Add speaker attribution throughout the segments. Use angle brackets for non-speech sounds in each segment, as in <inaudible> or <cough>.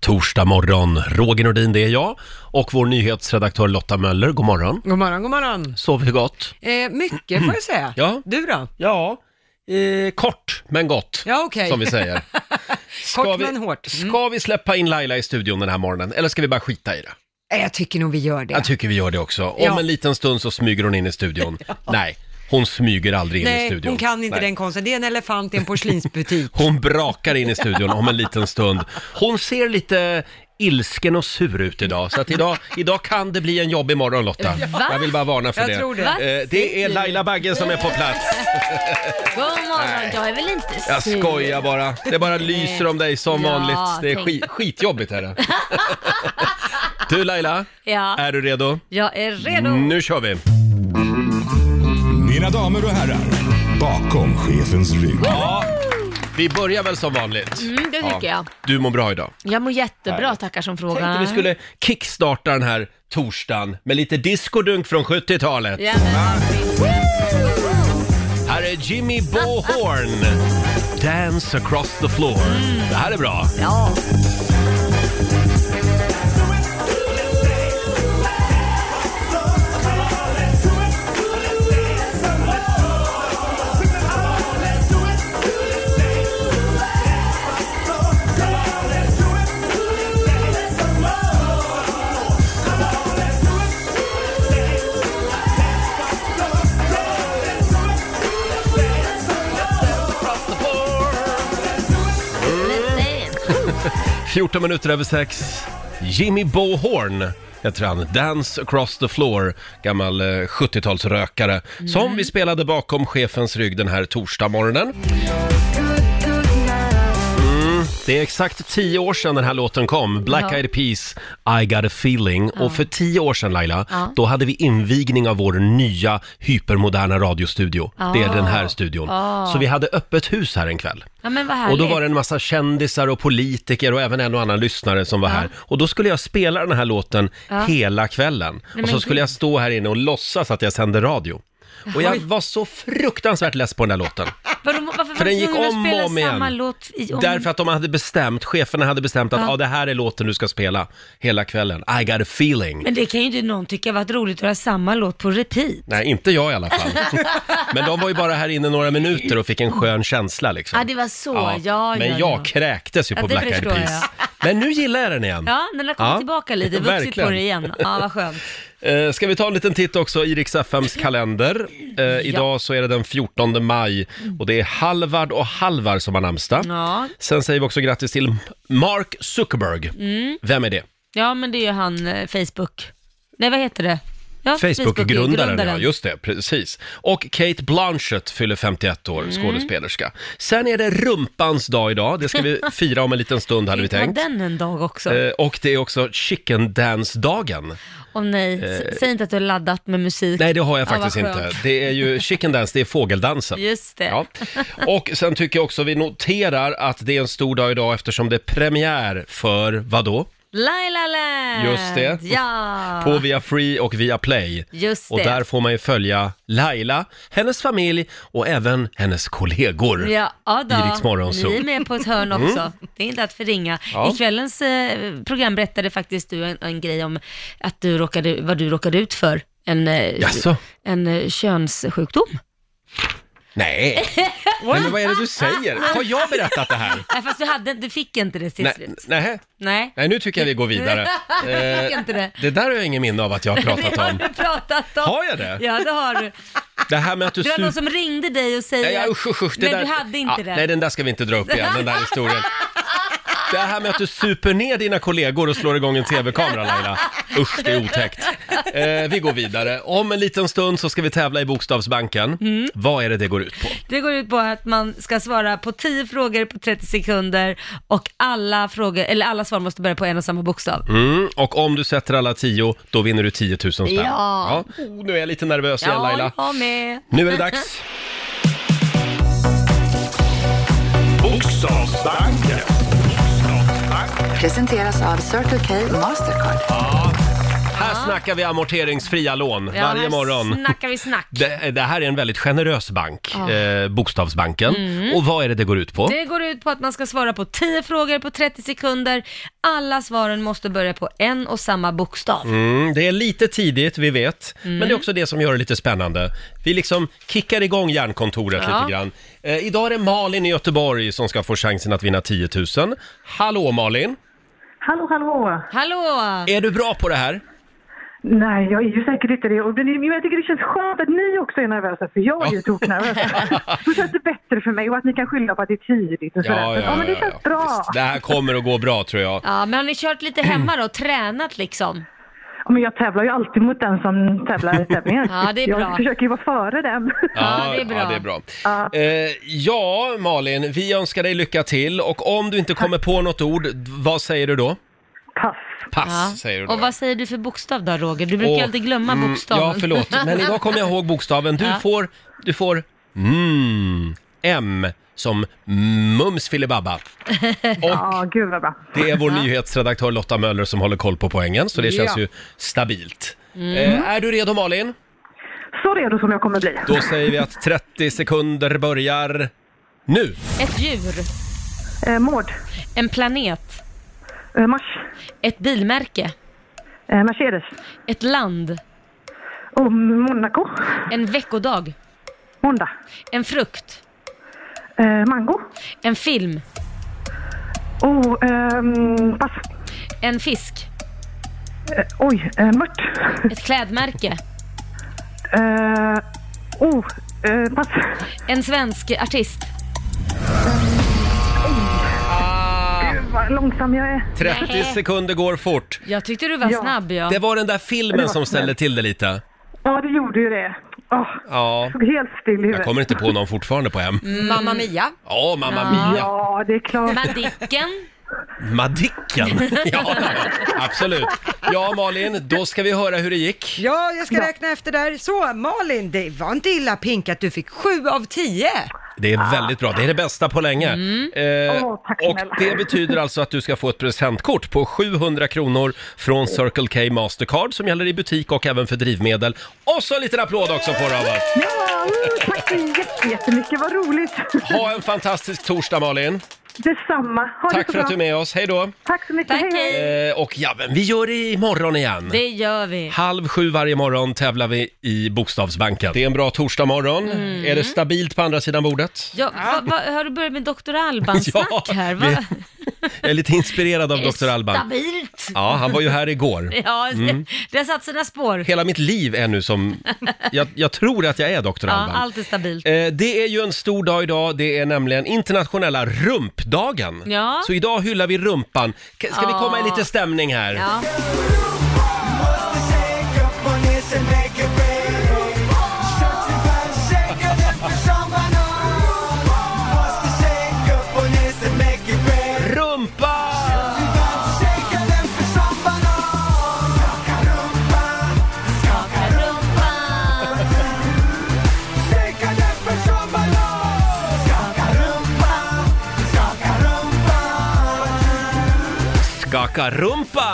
Speaker 1: torsdag morgon. Roger Nordin, det är jag. Och vår nyhetsredaktör Lotta Möller, god morgon.
Speaker 2: God morgon, god morgon.
Speaker 1: Sov vi gott? Mm.
Speaker 2: Eh, mycket får jag säga.
Speaker 1: <clears throat> Ja.
Speaker 2: Du då?
Speaker 1: Ja, eh, kort men gott,
Speaker 2: Ja, okej.
Speaker 1: som vi säger.
Speaker 2: Kort men hårt. Mm.
Speaker 1: Ska vi släppa in Laila i studion den här morgonen, eller ska vi bara skita i det?
Speaker 2: Eh, <laughs> Jag tycker nog vi gör det.
Speaker 1: Jag tycker vi gör det också. Om
Speaker 2: Ja.
Speaker 1: en liten stund så smyger hon in i
Speaker 2: <laughs>
Speaker 1: studion. Nej, hon smyger aldrig in i
Speaker 2: Nej,
Speaker 1: studion.
Speaker 2: hon kan inte
Speaker 1: Nej.
Speaker 2: den konsten. Det är en elefant i en porslinsbutik.
Speaker 1: Hon brakar in i studion om en liten stund. Hon ser lite ilsken och sur ut idag, så att idag, idag kan det bli en jobbig morgon Lotta. Jag vill bara varna för
Speaker 2: Jag
Speaker 1: det.
Speaker 2: tror det.
Speaker 1: Eh, det är Laila Bagge som är på plats.
Speaker 3: God morgon, jag är väl inte sur?
Speaker 1: Jag skojar bara. Det bara lyser om dig som
Speaker 3: Ja,
Speaker 1: vanligt. Det är
Speaker 3: tänk.
Speaker 1: skit, skitjobbigt är det. Du Laila,
Speaker 3: Ja,
Speaker 1: är du redo?
Speaker 3: jag är redo.
Speaker 1: Nu kör vi!
Speaker 4: Mina damer och herrar, bakom chefens rygg.
Speaker 1: Vi börjar väl som vanligt.
Speaker 3: Mm, det tycker jag.
Speaker 1: Du mår bra idag.
Speaker 3: Jag mår jättebra, tackar som
Speaker 1: tänkte
Speaker 3: frågar.
Speaker 1: vi skulle kickstarta den här torsdagen med lite discodunk från 70-talet.
Speaker 3: Ja, men,
Speaker 1: Här är Jimmy Bohorn. Dance across the floor. Det här är bra.
Speaker 3: Mm. ja. Let's dance.
Speaker 1: 14 minuter över sex. Jimmy Bohorn heter han. Dance across the floor. Gammal eh, 70-talsrökare. Som vi spelade bakom chefens rygg den här torsdagmorgonen. Mm, det är exakt tio år sedan den här låten kom. Black
Speaker 3: Ja.
Speaker 1: Eyed Peas, I got a feeling. Och för tio år sedan Laila,
Speaker 3: Ja.
Speaker 1: då hade vi invigning av vår nya hypermoderna radiostudio. Det är
Speaker 3: Ah.
Speaker 1: den här studion.
Speaker 3: Ah.
Speaker 1: Så vi hade öppet hus här en kväll.
Speaker 3: Ja, men vad
Speaker 1: Och
Speaker 3: härligt.
Speaker 1: då var det en massa kändisar och politiker och även en och annan lyssnare som var här. Och då skulle jag spela den här låten hela kvällen. och så
Speaker 3: men
Speaker 1: skulle jag stå här inne och låtsas att jag sände radio. Och jag var så fruktansvärt less på den här låten.
Speaker 3: Vadå, varför var
Speaker 1: För den
Speaker 3: du
Speaker 1: gick
Speaker 3: tvungen att
Speaker 1: om
Speaker 3: spela
Speaker 1: och om igen.
Speaker 3: Samma låt i, om...
Speaker 1: Därför att de hade bestämt, cheferna hade bestämt att ja. ah, det här är låten du ska spela hela kvällen. I got a feeling.
Speaker 3: Men det kan ju inte någon tycka varit roligt att höra samma låt på repeat.
Speaker 1: Nej, inte jag i
Speaker 3: <laughs>
Speaker 1: alla fall. Men de var ju bara här inne några minuter och fick en skön känsla liksom.
Speaker 3: Ja, det var så. Ja, ja,
Speaker 1: Men
Speaker 3: ja.
Speaker 1: jag kräktes ju
Speaker 3: Ja,
Speaker 1: på
Speaker 3: det
Speaker 1: Black Eyed
Speaker 3: förstår
Speaker 1: Peas.
Speaker 3: <laughs>
Speaker 1: Men nu gillar jag den igen.
Speaker 3: Ja, den har kommit
Speaker 1: Ja,
Speaker 3: tillbaka lite, vuxit på
Speaker 1: verkligen.
Speaker 3: det igen. Ja, vad skönt.
Speaker 1: <laughs> Eh, Ska vi ta en liten titt också i Rix FMs kalender? Eh, Idag så är det den 14 maj och det är Halvard och Halvar som har namnsdag.
Speaker 3: Ja,
Speaker 1: Sen säger vi också grattis till Mark Zuckerberg. Vem är det?
Speaker 3: Mm. ja men det är ju han eh, Facebook. Nej, vad heter det? Ja,
Speaker 1: Facebook-grundaren, ja.
Speaker 3: grundaren.
Speaker 1: Just det, precis. Och Kate Blanchett fyller 51 år,
Speaker 3: Mm.
Speaker 1: skådespelerska. Sen är det rumpans dag idag. Det
Speaker 3: <laughs>
Speaker 1: ska vi fira om en liten stund, hade vi
Speaker 3: Var
Speaker 1: tänkt.
Speaker 3: den en dag också?
Speaker 1: Eh, Och det är också chicken dance-dagen.
Speaker 3: Åh nej, S- säg inte att du har laddat med musik.
Speaker 1: Eh, Nej, det har jag
Speaker 3: Ja, vad
Speaker 1: faktiskt inte.
Speaker 3: skönt.
Speaker 1: Det
Speaker 3: <laughs>
Speaker 1: är ju chicken dance, det är fågeldansen.
Speaker 3: Just det.
Speaker 1: Ja. Och sen tycker jag också vi noterar att det är en stor dag idag eftersom det är premiär för vadå?
Speaker 3: Laila Land!
Speaker 1: Just det.
Speaker 3: Ja!
Speaker 1: På via Free och via Play.
Speaker 3: Just det.
Speaker 1: Och där får man ju följa Laila, hennes familj och även hennes kollegor.
Speaker 3: Ja, ja då.
Speaker 1: I Rix Morgon Zoo.
Speaker 3: Ni är med på ett hörn också. Det är inte att förringa.
Speaker 1: Mm. Ja.
Speaker 3: I kvällens eh, program berättade faktiskt du en, en grej om att du råkade, vad du råkade ut för. En, eh,
Speaker 1: Jaså?
Speaker 3: en eh, könssjukdom.
Speaker 1: <laughs>
Speaker 3: <laughs>
Speaker 1: Nej. Nej, men vad är det du säger? Har jag berättat det här?
Speaker 3: Nej, fast du, hade, du fick inte det till
Speaker 1: Nej,
Speaker 3: slut.
Speaker 1: nej,
Speaker 3: Nej.
Speaker 1: nej, nu tycker jag vi går vidare.
Speaker 3: <laughs> Du
Speaker 1: Eh,
Speaker 3: fick inte det.
Speaker 1: det där har jag ingen minne av att jag har pratat
Speaker 3: Det har <laughs>
Speaker 1: om.
Speaker 3: du pratat om.
Speaker 1: Har jag det?
Speaker 3: Ja, det har du.
Speaker 1: Det här med att du
Speaker 3: Det var
Speaker 1: super-
Speaker 3: någon som ringde dig och säger
Speaker 1: Nej, ja,
Speaker 3: att-
Speaker 1: usch, usch, usch, det
Speaker 3: Men
Speaker 1: där,
Speaker 3: du hade inte
Speaker 1: Ja,
Speaker 3: det.
Speaker 1: Nej, den där ska vi inte dra upp igen, den där historien. Det här med att du super ner dina kollegor och slår igång en tv-kamera, Laila. Usch, det är otäckt. Eh, vi går vidare. Om en liten stund så ska vi tävla i Bokstavsbanken.
Speaker 3: Mm.
Speaker 1: Vad är det det går ut på?
Speaker 3: Det går ut på att man ska svara på 10 frågor på 30 sekunder och alla, frågor, eller alla svar måste börja på en och samma bokstav.
Speaker 1: Mm, och om du sätter alla tio, då vinner du 10 000 spänn.
Speaker 3: Ja.
Speaker 1: Oh, nu är jag lite nervös igen,
Speaker 3: Ja,
Speaker 1: Laila.
Speaker 3: jag har med.
Speaker 1: Nu är det dags.
Speaker 4: Bokstavsbanken.
Speaker 5: presenteras av Circle K Mastercard.
Speaker 1: Här snackar vi amorteringsfria lån
Speaker 3: Ja,
Speaker 1: varje
Speaker 3: här
Speaker 1: morgon.
Speaker 3: snackar vi snack.
Speaker 1: Det, det här är en väldigt generös bank, eh, Bokstavsbanken. Och vad är det det går ut på?
Speaker 3: Mm. Det går ut på att man ska svara på 10 frågor på 30 sekunder. Alla svaren måste börja på en och samma bokstav.
Speaker 1: Mm, det är lite tidigt, vi vet. Men det är
Speaker 3: Mm.
Speaker 1: också det som gör det lite spännande. Vi liksom kickar igång hjärnkontoret
Speaker 3: Ja.
Speaker 1: lite grann. Eh, idag är det Malin i Göteborg som ska få chansen att vinna 10 000. Hallå Malin!
Speaker 5: Hallå, hallå!
Speaker 3: Hallå!
Speaker 1: Är du bra på det här?
Speaker 5: Nej, jag är ju säkert inte det. Och det- Men jag tycker det känns skönt att ni också är nervösa, för jag är ju
Speaker 1: <laughs>
Speaker 5: toknervös. Då känns det bättre för mig och att ni kan skylla på att det är tidigt och sådär. Men, men det känns
Speaker 1: ja.
Speaker 5: bra.
Speaker 1: Visst, <laughs> Det här kommer att gå bra tror jag.
Speaker 3: Ja, men har ni kört lite hemma då? Tränat liksom?
Speaker 5: Ja, men jag tävlar ju alltid mot den som tävlar i tävlingen.
Speaker 3: <laughs> Ja, det är bra.
Speaker 5: Jag försöker ju vara före den.
Speaker 3: Ja, det är bra.
Speaker 1: Ja,
Speaker 3: <laughs>
Speaker 1: det är bra. Eh, ja, Malin, vi önskar dig lycka till och om du inte kommer på något ord, vad säger du då?
Speaker 5: Pass.
Speaker 1: Pass,
Speaker 3: Ja.
Speaker 1: säger du då.
Speaker 3: Och vad säger du för bokstav då, Roger? Du brukar ju
Speaker 1: Och-
Speaker 3: alltid glömma
Speaker 1: Mm,
Speaker 3: bokstaven.
Speaker 1: Ja,
Speaker 3: <laughs>
Speaker 1: förlåt. Men idag kommer jag ihåg bokstaven. Du
Speaker 3: Ja.
Speaker 1: får, du får mm, M som Mums filibabba.
Speaker 5: Ja, gud vad bra.
Speaker 1: Det är vår nyhetsredaktör Lotta Möller som håller koll på poängen, så det känns
Speaker 2: Ja.
Speaker 1: ju stabilt.
Speaker 3: Mm.
Speaker 1: Eh, är du redo Malin?
Speaker 5: Så redo som jag kommer bli.
Speaker 1: Då säger vi att 30 sekunder börjar nu.
Speaker 3: Ett djur,
Speaker 5: Eh, Mård.
Speaker 3: en planet,
Speaker 5: Eh, Mars.
Speaker 3: ett bilmärke,
Speaker 5: Eh, Mercedes.
Speaker 3: ett land,
Speaker 5: Oh, Monaco.
Speaker 3: en veckodag,
Speaker 5: Måndag.
Speaker 3: en frukt,
Speaker 5: Eh, mango.
Speaker 3: en film,
Speaker 5: Oh, ehm, pass.
Speaker 3: en fisk,
Speaker 5: Eh, oj, eh, mört.
Speaker 3: ett klädmärke,
Speaker 5: Eh, oh, eh, pass.
Speaker 3: en svensk artist.
Speaker 1: Ah.
Speaker 5: Vad långsam jag är.
Speaker 1: 30 sekunder går fort.
Speaker 3: Jag tyckte du var
Speaker 5: Ja.
Speaker 3: snabb ja.
Speaker 1: Det var den där filmen som ställde till det lite.
Speaker 5: Ja, det gjorde ju det. Åh,
Speaker 1: Ja,
Speaker 5: stod helt still
Speaker 1: jag
Speaker 5: i huvudet. Mm.
Speaker 1: kommer inte på någon fortfarande på M.
Speaker 2: Mamma Mia.
Speaker 1: <laughs> Ja, Mamma Mia.
Speaker 5: Ja, det är klart.
Speaker 3: Madicken,
Speaker 1: Madicken!
Speaker 5: <laughs>
Speaker 1: Ja, absolut. Ja, Malin, då ska vi höra hur det gick.
Speaker 2: Ja, jag ska räkna efter där. Så, Malin, det var inte illa pink att du fick sju av tio.
Speaker 1: Det är väldigt bra. Det är det bästa på länge. Eh,
Speaker 5: Mm. Åh, tack
Speaker 1: och
Speaker 5: snälla.
Speaker 1: det betyder alltså att du ska få ett presentkort på 700 kronor från Circle K Mastercard som gäller i butik och även för drivmedel. Och så en liten applåd också får du av oss.
Speaker 5: Ja, uh, tack så jätte- jättemycket. Vad roligt.
Speaker 1: Ha en fantastisk torsdag, Malin.
Speaker 5: Detsamma. Ha det
Speaker 1: Tack
Speaker 5: så
Speaker 1: för att
Speaker 5: bra.
Speaker 1: du är med oss. Hej då!
Speaker 5: Tack så mycket.
Speaker 3: Tack,
Speaker 5: hej. hej.
Speaker 3: hej.
Speaker 1: Eh, och ja, men vi gör det imorgon igen.
Speaker 3: det gör vi.
Speaker 1: Halv sju varje morgon tävlar vi i Bokstavsbanken. Det är en bra torsdagmorgon.
Speaker 3: Mm.
Speaker 1: Är det stabilt på andra sidan bordet?
Speaker 3: Ja, va, va, har du börjat med Dr. Alban-snack
Speaker 1: <laughs> Ja,
Speaker 3: här?
Speaker 1: vi-
Speaker 3: Va?
Speaker 1: Jag är lite inspirerad av
Speaker 3: Det <laughs> är
Speaker 1: Dr. Alban.
Speaker 3: Stabilt!
Speaker 1: Ja, han var ju
Speaker 3: <laughs>
Speaker 1: här Mm. igår.
Speaker 3: Ja, det har satt sina spår.
Speaker 1: Hela mitt liv är nu som... Jag, jag tror att jag är Dr.
Speaker 3: Ja,
Speaker 1: Alban.
Speaker 3: allt är stabilt.
Speaker 1: Eh, Det är ju en stor dag idag, det är nämligen internationella rumpdagen.
Speaker 3: Ja.
Speaker 1: Så idag hyllar vi rumpan. Ska ska vi
Speaker 3: Ja.
Speaker 1: komma i lite stämning här?
Speaker 3: Ja.
Speaker 1: Rumpa! Skaka rumpan!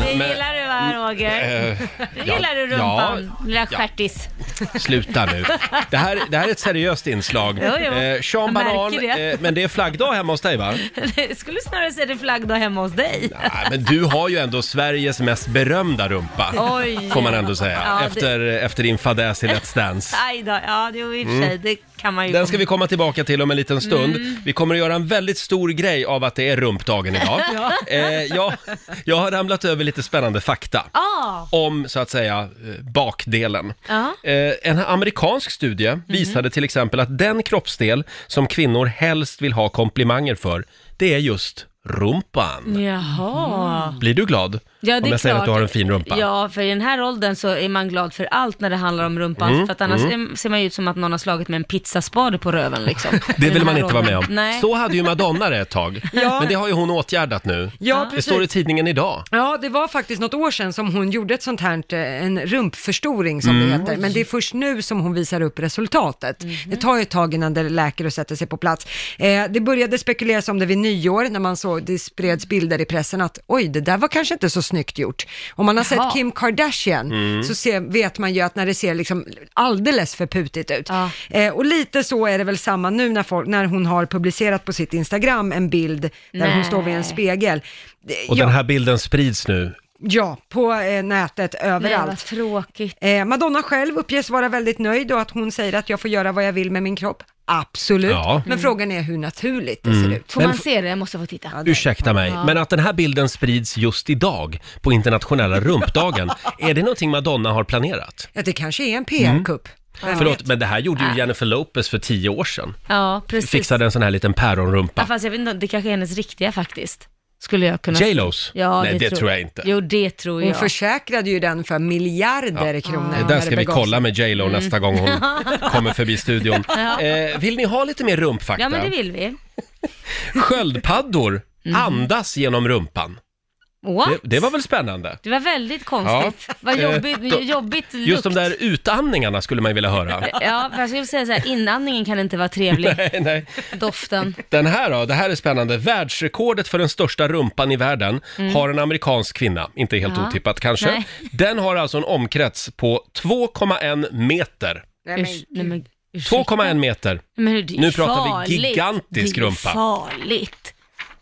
Speaker 3: Ja, det
Speaker 1: Men-
Speaker 3: gillar du va Roger?
Speaker 1: Eh,
Speaker 3: <laughs> Det
Speaker 1: ja,
Speaker 3: gillar du rumpan, lilla stjärtis. <laughs>
Speaker 1: Sluta nu. Det här, det här är ett seriöst inslag.
Speaker 3: Jo, jo.
Speaker 1: Eh, Sean
Speaker 3: Jag
Speaker 1: Banan,
Speaker 3: märker det.
Speaker 1: eh, men det är flaggdag hemma hos dig va?
Speaker 3: Jag skulle snarare säga det är flaggdag hemma hos dig.
Speaker 1: Nej, men du har ju ändå Sveriges mest berömda rumpa.
Speaker 3: Oj.
Speaker 1: Får man ändå säga.
Speaker 3: Ja, det-
Speaker 1: efter, efter din fadäs i Let's Dance.
Speaker 3: <laughs>
Speaker 1: Mm.
Speaker 3: Aj då, ja det är i och för sig, det kan man ju.
Speaker 1: Den ska vi komma tillbaka till om en liten stund.
Speaker 3: Mm.
Speaker 1: Vi kommer att göra en väldigt stor grej av att det är
Speaker 3: <laughs>
Speaker 1: rumpdagen idag. eh, jag, jag har ramlat över lite spännande fakta.
Speaker 3: Ah,
Speaker 1: om så att säga eh, bakdelen.
Speaker 3: Ja.
Speaker 1: Eh, En amerikansk studie
Speaker 2: Mhm.
Speaker 1: visade till exempel att den kroppsdel som kvinnor helst vill ha komplimanger för, det är just rumpan.
Speaker 3: jaha.
Speaker 1: Blir du glad
Speaker 3: Ja, det
Speaker 1: om
Speaker 3: är
Speaker 1: jag säger
Speaker 3: klart.
Speaker 1: att du har en fin rumpa?
Speaker 3: Ja, för i den här åldern så är man glad för allt när det handlar om rumpan.
Speaker 1: Mm.
Speaker 3: För att annars eh, ser man ju ut som att någon har slagit med en pizzaspade på röven liksom.
Speaker 1: <laughs> Det
Speaker 3: I den
Speaker 1: vill man
Speaker 3: här
Speaker 1: inte vara med om.
Speaker 3: åldern. Nej.
Speaker 1: Så hade ju Madonna det ett tag,
Speaker 2: <laughs> Ja.
Speaker 1: men det har ju hon åtgärdat nu.
Speaker 2: Ja,
Speaker 1: Det står i
Speaker 2: precis.
Speaker 1: tidningen idag.
Speaker 2: Ja, det var faktiskt något år sedan som hon gjorde ett sånt här, eh, en rumpförstoring som
Speaker 3: Mm.
Speaker 2: det heter, men det är först nu som hon visar upp resultatet.
Speaker 3: Mhm.
Speaker 2: Det tar ju ett tag innan det läker och sätter sig på plats. Eh, det började spekuleras om det vid nyår när man såg så, det spreds bilder i pressen att oj, det där var kanske inte så snyggt gjort. Om man har
Speaker 3: Jaha. Mm.
Speaker 2: sett Kim Kardashian så ser, vet man ju att när det ser liksom alldeles för putigt ut.
Speaker 3: Ja.
Speaker 2: Eh, och lite så är det väl samma nu när, folk, när hon har publicerat på sitt Instagram en bild där
Speaker 3: Nej.
Speaker 2: hon står vid en spegel. Eh,
Speaker 1: Och
Speaker 2: ja,
Speaker 1: den här bilden sprids nu.
Speaker 2: ja, på eh, nätet
Speaker 3: Nej, vad
Speaker 2: överallt.
Speaker 3: tråkigt.
Speaker 2: Eh, Madonna själv uppges vara väldigt nöjd och att hon säger att jag får göra vad jag vill med min kropp. Absolut,
Speaker 1: Ja. Mm.
Speaker 2: men frågan är hur naturligt det ser ut.
Speaker 3: Mm. Får
Speaker 1: Men
Speaker 3: man
Speaker 1: f-
Speaker 3: se det? Jag måste få titta.
Speaker 1: Ursäkta mig, men att den här bilden sprids just idag på internationella
Speaker 2: <laughs>
Speaker 1: rumpdagen, är det någonting Madonna har planerat?
Speaker 2: Ja, det kanske är
Speaker 3: Mm.
Speaker 2: en PR-kupp. Vem
Speaker 1: Förlåt,
Speaker 2: vet?
Speaker 1: men det här gjorde ju Jennifer Lopez för tio år sedan.
Speaker 3: Ja, precis.
Speaker 1: Fixade en sån här liten
Speaker 3: Ja, <laughs>
Speaker 1: päronrumpa.
Speaker 3: fast jag vet inte, det kanske är hennes riktiga faktiskt. Skulle jag kunna...
Speaker 1: J.Lo's?
Speaker 3: Ja,
Speaker 1: Nej, det tror jag inte.
Speaker 3: Jo, det tror
Speaker 2: Hon
Speaker 3: jag.
Speaker 2: försäkrade ju den för miljarder kronor.
Speaker 1: Det
Speaker 2: när
Speaker 1: där ska vi
Speaker 2: begav sig.
Speaker 1: kolla med J Lo nästa gång hon
Speaker 3: Mm.
Speaker 1: <laughs> kommer förbi studion. Eh, vill ni ha lite mer rumpfakta?
Speaker 3: Ja, men det vill vi.
Speaker 1: Sköldpaddor andas genom rumpan.
Speaker 3: What?
Speaker 1: Det, det var väl spännande?
Speaker 3: Det var väldigt konstigt.
Speaker 1: Ja.
Speaker 3: Vad
Speaker 1: Eh,
Speaker 3: jobbigt,
Speaker 1: då-
Speaker 3: jobbigt
Speaker 1: Just de
Speaker 3: lukt.
Speaker 1: där utandningarna skulle man vilja höra.
Speaker 3: <laughs> Ja, fast jag skulle säga så här, inandningen kan inte vara trevlig,
Speaker 1: <laughs> Nej, nej.
Speaker 3: doften.
Speaker 1: Den här då, det här är spännande. Världsrekordet för den största rumpan i världen har en amerikansk kvinna, inte helt
Speaker 3: Mm. Ja.
Speaker 1: otippat kanske.
Speaker 3: Nej.
Speaker 1: Den har alltså en omkrets på 2,1 meter.
Speaker 2: Nej, men,
Speaker 3: Usch, nej, men, ursäkta.
Speaker 1: 2,1 meter.
Speaker 3: Men hur, det är ju
Speaker 1: Nu pratar vi
Speaker 3: farligt.
Speaker 1: gigantisk
Speaker 3: det är ju
Speaker 1: rumpa.
Speaker 3: farligt.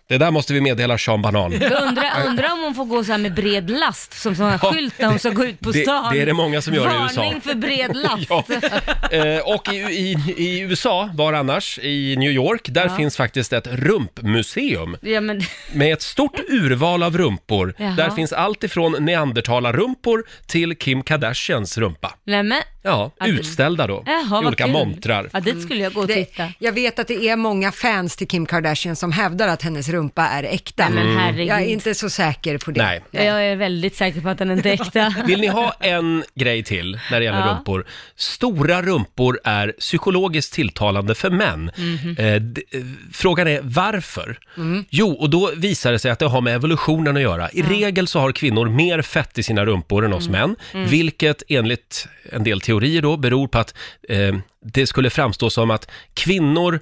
Speaker 1: Det där måste vi meddela
Speaker 3: <laughs>
Speaker 1: Sean Banan.
Speaker 3: Jag undrar, undrar om hon får gå så här med bred last, som sån här skylt när hon ska gå ut på
Speaker 1: det-
Speaker 3: stan.
Speaker 1: det är det många som gör i USA.
Speaker 3: Varning för
Speaker 1: <laughs>
Speaker 3: bred last.
Speaker 1: Ja. <laughs> Eh, och i, i, i USA, var annars, i New York, där finns faktiskt ett rumpmuseum
Speaker 3: Ja, men,
Speaker 1: med ett stort urval av rumpor.
Speaker 3: Jaha.
Speaker 1: Där finns allt ifrån neandertalarrumpor till Kim Kardashians rumpa.
Speaker 3: nej men,
Speaker 1: Ja,
Speaker 3: Ja, det-
Speaker 1: utställda då,
Speaker 3: jaha,
Speaker 1: i olika
Speaker 3: vad kul.
Speaker 1: montrar.
Speaker 3: Ja, dit skulle jag gå och titta.
Speaker 2: Mm. det, jag vet att det är många fans till Kim Kardashian som hävdar att hennes rumpa är äkta.
Speaker 3: Nej, men herregud.
Speaker 2: Jag är inte så säker på det.
Speaker 1: Mm. Nej.
Speaker 3: Jag är väldigt säker på att den inte är äkta.
Speaker 1: Vill ni ha en grej till när det gäller
Speaker 3: Ja.
Speaker 1: rumpor? Stora rumpor är psykologiskt tilltalande för män. Eh, d- eh, frågan är varför?
Speaker 3: Mm.
Speaker 6: Mm.
Speaker 1: Jo, och då visar det sig att det har med evolutionen att göra. I regel så har kvinnor mer fett i sina rumpor än oss män, vilket enligt en del teorier då beror på att eh, det skulle framstå som att kvinnor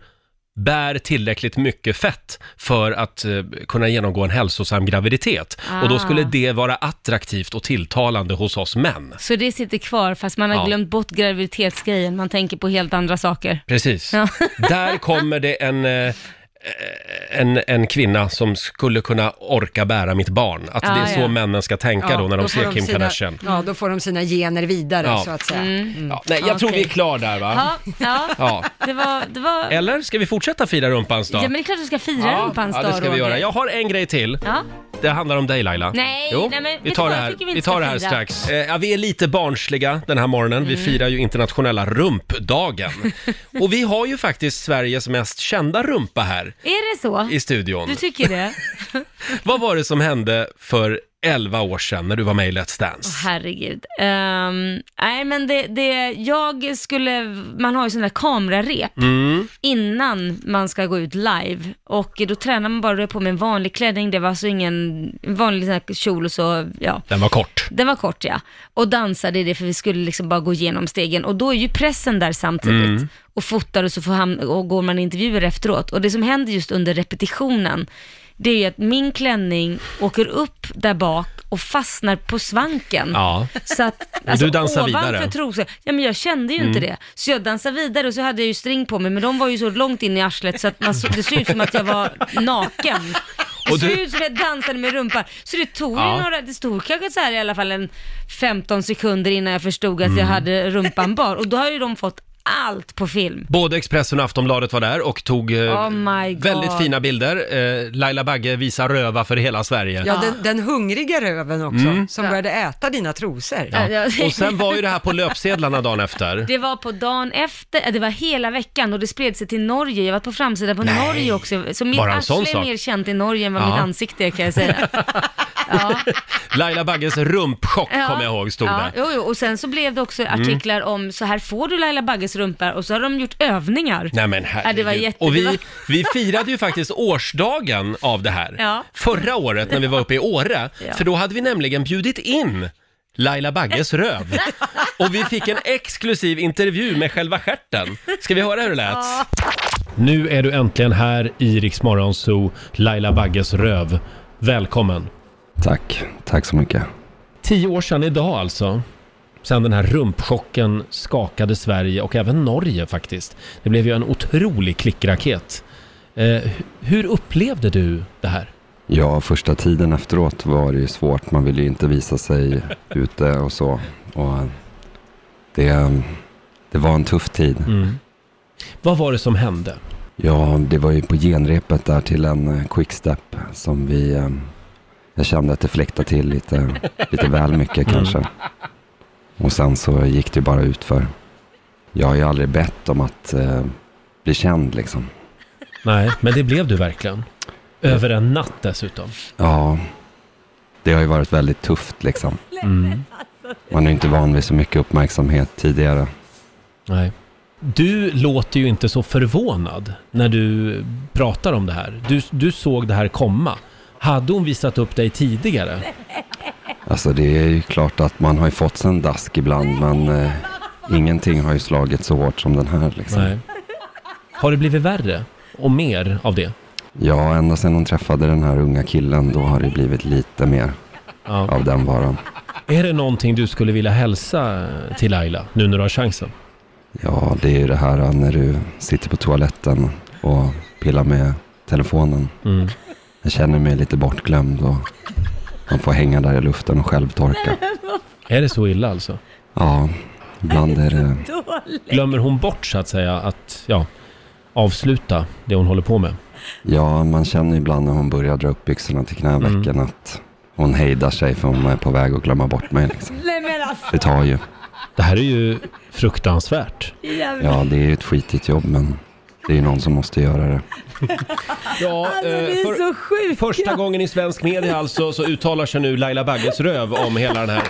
Speaker 1: bär tillräckligt mycket fett för att eh, kunna genomgå en hälsosam graviditet. Och då skulle det vara attraktivt och tilltalande hos oss män.
Speaker 3: Så det sitter kvar fast man har
Speaker 1: Ja.
Speaker 3: glömt bort graviditetsgrejen, man tänker på helt andra saker.
Speaker 1: Precis.
Speaker 3: Ja.
Speaker 1: <laughs> Där kommer det en, eh, en, en kvinna som skulle kunna orka bära mitt barn. Att det är
Speaker 3: Ah,
Speaker 1: så
Speaker 3: ja.
Speaker 1: männen ska tänka då när de
Speaker 2: då får
Speaker 1: ser Kim
Speaker 2: sina,
Speaker 1: Kardashian.
Speaker 2: Ja, då får de sina gener vidare
Speaker 1: Ja.
Speaker 2: så att säga. Mm.
Speaker 1: Ja, nej, jag tror vi
Speaker 3: Okej.
Speaker 1: är klar där va?
Speaker 3: Ja, Mm. ja.
Speaker 1: Ja.
Speaker 3: Det var, det
Speaker 1: <laughs>
Speaker 3: var... Ja,
Speaker 1: Eller ska vi fortsätta fira rumpans dag?
Speaker 3: men det är klart du ska fira ja, rumpans
Speaker 1: ja,
Speaker 3: dag
Speaker 1: det ska vi
Speaker 3: Roger.
Speaker 1: göra. Jag har en grej till.
Speaker 3: Ja.
Speaker 1: Det handlar om dig Laila.
Speaker 3: Nej,
Speaker 1: jo,
Speaker 3: nej, men vet
Speaker 1: vi
Speaker 3: du
Speaker 1: tar
Speaker 3: vad?
Speaker 1: det
Speaker 3: Jag
Speaker 1: här,
Speaker 3: tycker vi
Speaker 1: vi
Speaker 3: inte
Speaker 1: tar
Speaker 3: ska
Speaker 1: det här
Speaker 3: fira. Mm.
Speaker 1: strax. Eh, ja, vi är lite barnsliga den här morgonen. Vi firar ju internationella rumpdagen.
Speaker 3: <laughs>
Speaker 1: Och vi har ju faktiskt Sveriges mest kända rumpa här
Speaker 3: Är det så?
Speaker 1: i studion.
Speaker 3: Du tycker det?
Speaker 1: Vad var det som hände för 11 år sedan när du var med i Let's Dance?
Speaker 3: Herregud. Ehm, nej men det, det, jag skulle, man har ju sådana där kamerarep
Speaker 1: Mm.
Speaker 3: innan man ska gå ut live och då tränar man bara, då är jag på med en vanlig klänning, det var alltså ingen vanlig sån här kjol och så, ja.
Speaker 1: Den var kort.
Speaker 3: Den var kort ja. Och dansade i det för vi skulle liksom bara gå igenom stegen och då är ju pressen där
Speaker 7: Mm.
Speaker 3: samtidigt
Speaker 1: Mm.
Speaker 3: och fotar och så får ham- och går man intervjuer efteråt. Och det som händer just under repetitionen, det är ju att min klänning åker upp där bak och fastnar på svanken.
Speaker 1: Ja.
Speaker 3: Så
Speaker 1: <laughs>
Speaker 3: att, alltså,
Speaker 1: du dansar
Speaker 3: ovanför
Speaker 1: vidare. Mm.
Speaker 3: Tros, ja, men jag kände ju inte det. Så jag dansade vidare och så hade jag ju string på mig, men de var ju så långt in i arslet så att man, så- det såg ut som att jag var naken. Det
Speaker 1: Och
Speaker 3: såg
Speaker 1: du-
Speaker 3: ut som att jag dansade med rumpan. Så det tog
Speaker 1: Ja.
Speaker 3: ju några, det stod kanske så här i alla fall en 15 sekunder innan jag förstod att jag
Speaker 1: Mm.
Speaker 3: hade rumpan bar. Och då har ju de fått allt på film.
Speaker 1: Både Expressen och Aftonbladet var där och tog eh,
Speaker 3: Oh my God.
Speaker 1: väldigt fina bilder. Eh, Laila Bagge visar röva för hela Sverige.
Speaker 2: Ja, den, den hungriga röven också, som började äta dina trosor.
Speaker 1: Mm. Ja.
Speaker 3: Ja, det-
Speaker 1: Och sen var ju det här på löpsedlarna dagen efter.
Speaker 3: Det var på dagen efter, äh, det var hela veckan och det spred sig till Norge. Jag var på framsidan på
Speaker 1: Nej.
Speaker 3: Norge också. Så mitt
Speaker 1: Bara en sån
Speaker 3: arsle är
Speaker 1: sak.
Speaker 3: mer känt i Norge än vad
Speaker 1: Ja.
Speaker 3: mitt ansikte är kan jag säga. ja.
Speaker 1: Laila Bagges rumpchock
Speaker 3: Ja.
Speaker 1: kommer jag ihåg stod
Speaker 3: ja.
Speaker 1: där. Mm.
Speaker 3: Jo, jo. Och sen så blev det också artiklar om så här får du Laila Bagges rumpa och så har de gjort övningar.
Speaker 1: Nej men
Speaker 3: Ja, det var
Speaker 1: herregud.
Speaker 3: jätte...
Speaker 1: och
Speaker 3: det
Speaker 1: vi,
Speaker 3: var-
Speaker 1: vi firade ju faktiskt årsdagen av det här.
Speaker 3: Ja.
Speaker 1: Förra året när vi var uppe i Åre.
Speaker 3: Ja.
Speaker 1: För då hade vi nämligen bjudit in
Speaker 3: <laughs>
Speaker 1: Laila Bagges röv. Och vi fick en exklusiv intervju med själva stjärten. Ska vi höra hur det lät? Nu är du äntligen här i Rix Morgon Zoo, Laila Bagges röv. Välkommen!
Speaker 8: Tack, tack så mycket.
Speaker 1: Tio år sedan idag alltså, sedan den här rumpchocken skakade Sverige och även Norge faktiskt. Det blev ju en otrolig klickraket. Eh, hu- hur upplevde du det här?
Speaker 8: Ja, första tiden efteråt var det ju svårt. Man ville ju inte visa sig ute och så. Och det, det var en tuff tid.
Speaker 1: Mm. Vad var det som hände?
Speaker 8: Ja, det var ju på genrepet där till en eh, quickstep som vi... eh, Jag kände att det fläktade till lite, lite väl mycket kanske. Och sen så gick det bara ut för. Jag har ju aldrig bett om att eh, bli känd liksom.
Speaker 1: Nej, men det blev du verkligen. Över en natt dessutom.
Speaker 8: Ja, det har ju varit väldigt tufft liksom. Man är inte van vid så mycket uppmärksamhet tidigare.
Speaker 1: Nej. Du låter ju inte så förvånad när du pratar om det här. Du, du såg det här komma. Hade hon visat upp dig tidigare?
Speaker 8: Alltså det är ju klart att man har ju fått sig en dask ibland men eh, ingenting har ju slagit så hårt som den här liksom.
Speaker 1: Nej. Har det blivit värre? Och mer av det?
Speaker 8: Ja, ända sedan hon träffade den här unga killen då har det blivit lite mer
Speaker 1: Ja.
Speaker 8: av den varan.
Speaker 1: Är det någonting du skulle vilja hälsa till Laila nu när du har chansen?
Speaker 8: Ja, det är ju det här eh, när du sitter på toaletten och pillar med telefonen.
Speaker 1: Mm.
Speaker 8: Jag känner mig lite bortglömd och man får hänga där i luften och självtorka.
Speaker 1: Är det så illa alltså?
Speaker 8: Ja, ibland är eh, det...
Speaker 1: Glömmer hon bort så att säga att, ja, avsluta det hon håller på med?
Speaker 8: Ja, man känner ibland när hon börjar dra upp byxorna till knävecken
Speaker 1: Mm.
Speaker 8: att hon hejdar sig för hon är på väg att glömma bort mig. Liksom.
Speaker 3: <laughs> Nej men alltså,
Speaker 8: Det tar ju.
Speaker 1: Det här är ju fruktansvärt.
Speaker 3: jävlar.
Speaker 8: Ja, det är ju ett skitigt jobb men det är ju någon som måste göra det.
Speaker 1: <laughs> Ja,
Speaker 3: Alltså,
Speaker 1: eh,
Speaker 3: Det är så sjukt.
Speaker 1: Första gången i svensk media alltså så uttalar sig nu Laila Bagges röv om hela den här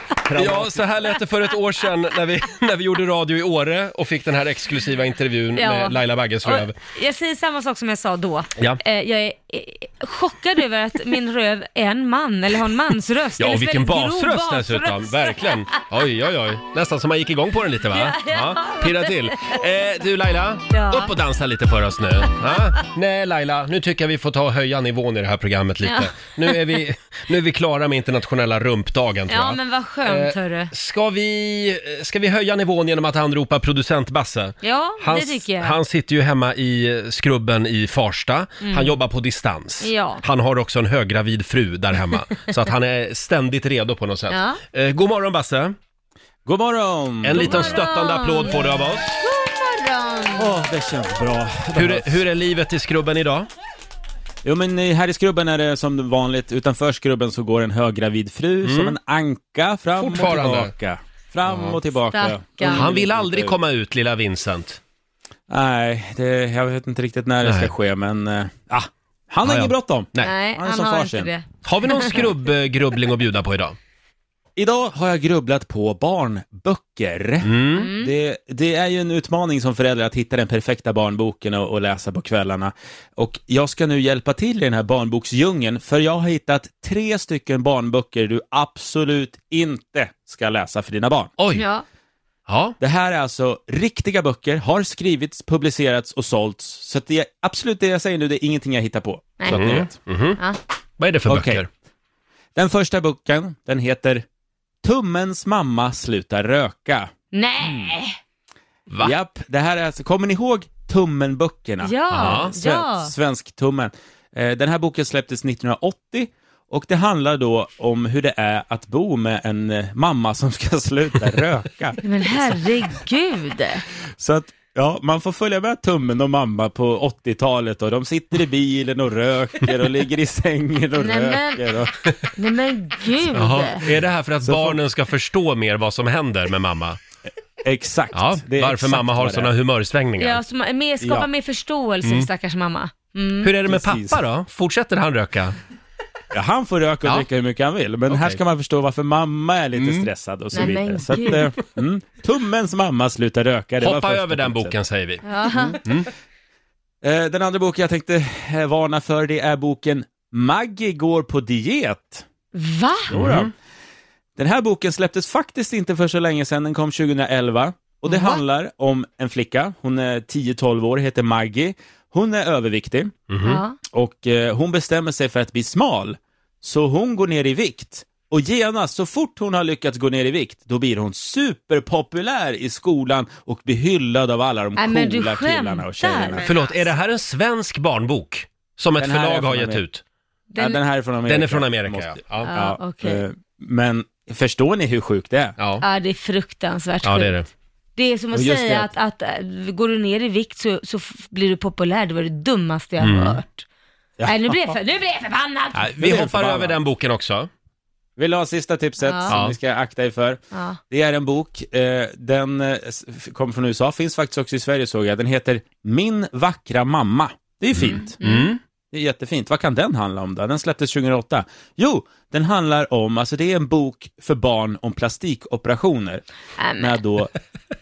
Speaker 1: Ja, så här lät det för ett år sedan när vi, <laughs> när vi gjorde radio i Åre och fick den här exklusiva intervjun
Speaker 3: Ja.
Speaker 1: med Laila Bagges röv.
Speaker 3: Och Jag säger samma sak som jag sa då.
Speaker 1: Ja.
Speaker 3: Eh, Jag är eh, chockad över att min röv är en man, eller har en
Speaker 1: <laughs>
Speaker 3: mansröst.
Speaker 1: Ja,
Speaker 3: Eller
Speaker 1: och vilken
Speaker 3: väldigt grov
Speaker 1: basröst dessutom.
Speaker 3: basröst.
Speaker 1: Verkligen.
Speaker 3: <laughs>
Speaker 1: Oj, oj, oj. Nästan som man gick igång på den lite va?
Speaker 3: Ja, ja.
Speaker 1: pirra till. Eh, du Laila,
Speaker 3: Ja.
Speaker 1: upp och dansa lite för oss nu. Ja? Nej Laila, nu tycker jag vi får ta och höja nivån i det här programmet lite.
Speaker 3: Ja.
Speaker 1: Nu, är vi, nu är vi klara med internationella rumpdagen tror jag.
Speaker 3: Ja, men vad skönt
Speaker 1: Eh,
Speaker 3: hörru.
Speaker 1: Ska vi, eh, ska vi höja nivån genom att anropa producent Basse?
Speaker 3: Ja,
Speaker 1: Han,
Speaker 3: det tycker jag.
Speaker 1: han sitter ju hemma i eh, skrubben i Farsta. Han jobbar på distans.
Speaker 3: Mm. Ja.
Speaker 1: Han har också en höggravid fru
Speaker 3: <laughs>
Speaker 1: där hemma. så att han är ständigt redo på något sätt.
Speaker 3: Ja.
Speaker 1: Eh, god morgon Basse! En
Speaker 6: God morgon!
Speaker 1: liten
Speaker 3: morgon.
Speaker 1: stöttande applåd får du av oss.
Speaker 6: Åh, det känns bra.
Speaker 1: Hur är, hur är livet i skrubben idag?
Speaker 6: Jo men eh, här i skrubben är det som vanligt, utanför skrubben så går en höggravid fru som en anka fram och
Speaker 1: Mm. Fortfarande.
Speaker 6: tillbaka. Fram och tillbaka.
Speaker 3: Stackarn.
Speaker 1: Han vill aldrig
Speaker 6: ut.
Speaker 1: komma ut lilla Vincent.
Speaker 6: Nej, det, jag vet inte riktigt när det
Speaker 1: Nej.
Speaker 6: ska ske men, eh, ah, han har
Speaker 1: Ja, ja.
Speaker 6: inget bråttom.
Speaker 1: Nej.
Speaker 3: Nej,
Speaker 6: Han är
Speaker 3: han
Speaker 6: som far
Speaker 3: har inte
Speaker 6: sin.
Speaker 3: det.
Speaker 1: Har vi någon skrubbgrubbling att bjuda på idag?
Speaker 6: Idag har jag grubblat på barnböcker. Det, det är ju en utmaning som förälder att hitta den perfekta barnboken och, och läsa på kvällarna. Och jag ska nu hjälpa till i den här barnboksdjungeln, för jag har hittat tre stycken barnböcker du absolut inte ska läsa för dina barn.
Speaker 1: Oj! Ja.
Speaker 3: Ja.
Speaker 6: Det här är alltså riktiga böcker, har skrivits, publicerats och sålts. Så att det är absolut det jag säger nu, det är ingenting jag hittar på. Så att ni
Speaker 1: Mm.
Speaker 6: vet.
Speaker 1: Mhm.
Speaker 3: Ja.
Speaker 1: Vad är det för
Speaker 6: Okej.
Speaker 1: böcker?
Speaker 6: Den första boken, den heter Tummens mamma slutar röka.
Speaker 3: Nej!
Speaker 1: Va?
Speaker 6: Japp, det här är alltså, kommer ni ihåg Tummenböckerna?
Speaker 3: Ja,
Speaker 1: Ja.
Speaker 6: Sven,
Speaker 3: ja.
Speaker 6: Svensktummen. Eh, den här boken släpptes 1980 och det handlar då om hur det är att bo med en eh, mamma som ska <laughs> sluta röka.
Speaker 1: Mm.
Speaker 3: Men herregud.
Speaker 6: Så att, ja, man får följa med Tummen och mamma på 80-talet och de sitter i bilen och röker och ligger i sängen och
Speaker 3: Nej, men-
Speaker 6: röker. Och...
Speaker 3: Nej men gud.
Speaker 1: Jaha. Är det här för att
Speaker 6: får-
Speaker 1: barnen ska förstå mer vad som händer med mamma?
Speaker 6: Exakt.
Speaker 1: Ja,
Speaker 6: det är
Speaker 1: varför
Speaker 6: exakt
Speaker 1: mamma har
Speaker 6: vad det är.
Speaker 1: sådana humörsvängningar.
Speaker 3: Ja, så man, mer, skapa
Speaker 6: Ja.
Speaker 3: mer förståelse för stackars mamma. Mm.
Speaker 1: Hur är det med
Speaker 6: Precis.
Speaker 1: pappa då? Fortsätter han röka?
Speaker 6: Ja, han får röka och
Speaker 1: Ja.
Speaker 6: dricka hur mycket han vill, men här
Speaker 1: Okej. Mm.
Speaker 6: ska man förstå varför mamma är lite stressad och så
Speaker 3: Nej, men
Speaker 6: vidare. Så att,
Speaker 3: gud.
Speaker 6: eh, mm, tummens mamma slutar röka. det var
Speaker 1: Hoppa
Speaker 6: första
Speaker 1: över den
Speaker 6: tipset.
Speaker 1: boken säger vi. Mm.
Speaker 6: Eh, den andra boken jag tänkte eh, varna för, det är boken Maggie går på diet.
Speaker 3: Va?
Speaker 5: Mm.
Speaker 6: Jodå. Den här boken släpptes faktiskt inte för så länge sedan, den kom 2011. Och det handlar om en flicka, hon är 10-12 år, heter Maggie. Hon är överviktig
Speaker 3: Ja.
Speaker 6: och eh, hon bestämmer sig för att bli smal. Så hon går ner i vikt. Och genast, så fort hon har lyckats gå ner i vikt, då blir hon superpopulär i skolan och blir hyllad av alla de
Speaker 3: Nej, men du
Speaker 6: coola killarna
Speaker 3: skämtar.
Speaker 6: och tjejerna.
Speaker 1: Förlåt, är det här en svensk barnbok? Som ett
Speaker 6: Den här är
Speaker 1: förlag har
Speaker 6: från
Speaker 1: gett
Speaker 6: Amerika.
Speaker 1: ut?
Speaker 6: Den, ja, den här är från Amerika.
Speaker 1: Den är från Amerika,
Speaker 6: Måste-
Speaker 1: ja.
Speaker 3: Ja.
Speaker 1: Ja.
Speaker 3: Ja, okej.
Speaker 6: eh, Men förstår ni hur sjukt det är?
Speaker 1: Ja.
Speaker 3: Ja, det är fruktansvärt
Speaker 1: ja, det är
Speaker 3: sjukt.
Speaker 1: det.
Speaker 3: Det är som att
Speaker 6: Och just
Speaker 3: säga
Speaker 6: det
Speaker 3: att, att, eh, går du ner i vikt så, så f- blir du populär. Det var det dummaste jag har hört. Nej, nu blir jag, för, nu blir jag förbannad.
Speaker 1: Mm. Nej,
Speaker 6: Det är
Speaker 1: vi hoppar
Speaker 6: förbannat.
Speaker 1: över den boken också.
Speaker 6: Vill du ha sista tipset
Speaker 3: Ja.
Speaker 6: som ni ska akta er för?
Speaker 3: Ja.
Speaker 6: Det är en bok, eh, den eh, s- f- kom från USA, finns faktiskt också i Sverige såg jag. Den heter Min vackra mamma. Det är ju fint.
Speaker 1: Mm.
Speaker 6: Det är jättefint. Vad kan den handla om då? Den släpptes 2008. Jo, den handlar om, alltså det är en bok för barn om plastikoperationer.
Speaker 3: Nej, Äh, men-
Speaker 6: Med då,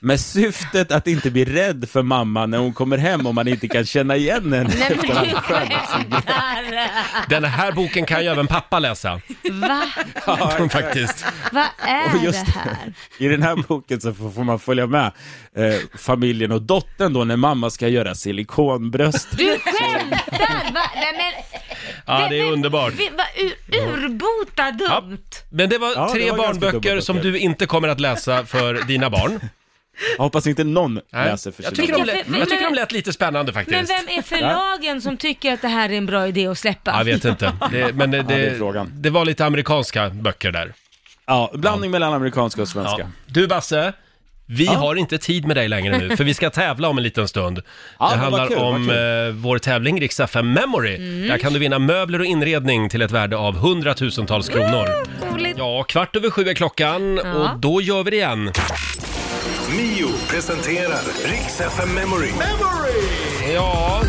Speaker 6: med syftet att inte bli rädd för mamma när hon kommer hem om man inte kan känna igen henne.
Speaker 3: Nej men du skämtar!
Speaker 1: Den här boken kan ju även pappa läsa,
Speaker 3: Va?
Speaker 6: Ja,
Speaker 1: faktiskt.
Speaker 3: Vad
Speaker 6: Och
Speaker 3: är
Speaker 6: just
Speaker 3: det här?
Speaker 6: I den här boken så får får man följa med eh, familjen och dottern då när mamma ska göra silikonbröst.
Speaker 3: Du skämtar! Va? Nej, men,
Speaker 1: Ja, det är underbart.
Speaker 3: Vi, va, ur, urbota dumt!
Speaker 1: Men det var
Speaker 6: Ja, det
Speaker 1: tre
Speaker 6: var ganska
Speaker 1: barnböcker
Speaker 6: dumma
Speaker 1: som
Speaker 6: böcker.
Speaker 1: du inte kommer att läsa för dina barn.
Speaker 6: Jag hoppas inte någon
Speaker 1: Nej.
Speaker 6: läser för
Speaker 1: jag,
Speaker 6: sina
Speaker 1: tycker de
Speaker 6: barn.
Speaker 1: lät,
Speaker 3: Men-
Speaker 1: jag tycker de lät lite spännande
Speaker 3: Men
Speaker 1: faktiskt.
Speaker 3: vem är förlagen som tycker att det här är en bra idé att släppa?
Speaker 1: Jag vet inte,
Speaker 6: <laughs>
Speaker 1: det, men det,
Speaker 6: det är
Speaker 1: det,
Speaker 6: frågan.
Speaker 1: det var lite amerikanska böcker där.
Speaker 6: Ja, blandning mellan amerikanska och svenska.
Speaker 1: Ja. Du Basse, vi har inte tid med dig längre nu, för vi ska tävla om en liten stund.
Speaker 6: <laughs> Ja,
Speaker 1: det
Speaker 6: men vad
Speaker 1: handlar
Speaker 6: kul, vad
Speaker 1: om
Speaker 6: kul. Mm.
Speaker 1: eh, vår tävling Rix FM Memory. Där kan du vinna möbler och inredning till ett värde av hundratusentals kronor. Ja, kvart över sju är klockan och då gör vi det igen.
Speaker 4: Mio presenterar Riks FM Memory.
Speaker 1: Ja,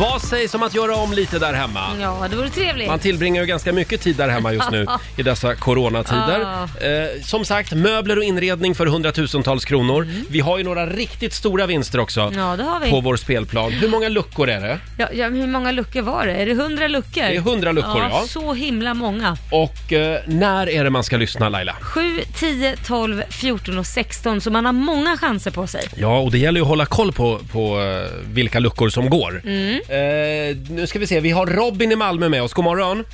Speaker 1: vad sägs om att göra om lite där hemma?
Speaker 6: Mm,
Speaker 3: Ja, det vore trevligt.
Speaker 1: Man tillbringar ju ganska mycket tid där hemma
Speaker 3: <laughs>
Speaker 1: just nu i dessa coronatider.
Speaker 3: Ja.
Speaker 1: Eh, som sagt, möbler och inredning för hundratusentals kronor. Vi har ju några riktigt stora vinster också
Speaker 3: Mm. Ja, det har vi.
Speaker 1: på vår spelplan. Hur många luckor är det?
Speaker 3: Ja, ja, men hur många luckor var det? Är det hundra luckor?
Speaker 1: Det är 100 luckor, ja.
Speaker 3: Så himla många.
Speaker 1: Och eh, när är det man ska lyssna Laila?
Speaker 3: 7, 10, 12, 14 och 16, så man har många chanser på sig.
Speaker 1: Ja, och det gäller ju att hålla koll på, på eh, vilka luckor som går.
Speaker 3: Mm.
Speaker 1: Eh, nu ska vi se, vi har Robin i Malmö med oss. God morgon!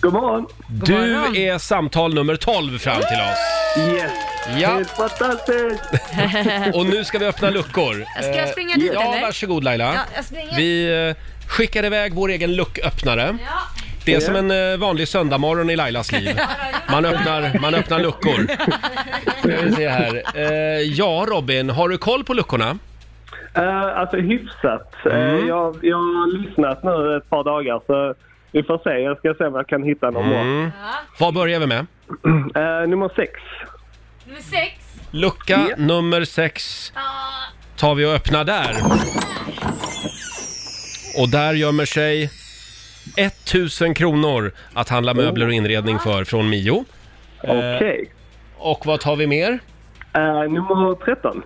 Speaker 9: God morgon!
Speaker 1: du
Speaker 3: morgon.
Speaker 1: är samtal nummer 12 fram till oss.
Speaker 9: Yes!
Speaker 1: Ja,
Speaker 9: Helt fantastiskt!
Speaker 3: <laughs>
Speaker 1: och nu ska vi öppna luckor.
Speaker 3: Ska jag
Speaker 1: Eh,
Speaker 3: springa dit
Speaker 1: Ja,
Speaker 3: eller?
Speaker 1: varsågod Laila.
Speaker 3: Ja, jag springer.
Speaker 1: Vi eh, skickar iväg vår egen lucköppnare.
Speaker 3: Ja.
Speaker 1: Det är som en eh, vanlig söndagmorgon i
Speaker 3: <laughs>
Speaker 1: Lailas liv. Man öppnar, man öppnar luckor. Ska vi se här. Eh, Ja, Robin, har du koll på luckorna?
Speaker 9: Eh, alltså hyfsat. Eh,
Speaker 1: Mm.
Speaker 9: jag, jag har lyssnat nu ett par dagar så vi får se. Jag ska se om jag kan hitta någon bra.
Speaker 1: Mm. Vad börjar vi med?
Speaker 9: Eh, nummer sex.
Speaker 3: Nummer 6.
Speaker 1: Lucka nummer sex tar vi och öppnar där. Och där gömmer sig 1000 kronor att handla möbler och inredning för från Mio.
Speaker 9: Okej.
Speaker 1: Eh, Och vad tar vi mer?
Speaker 9: Eh, nummer 13.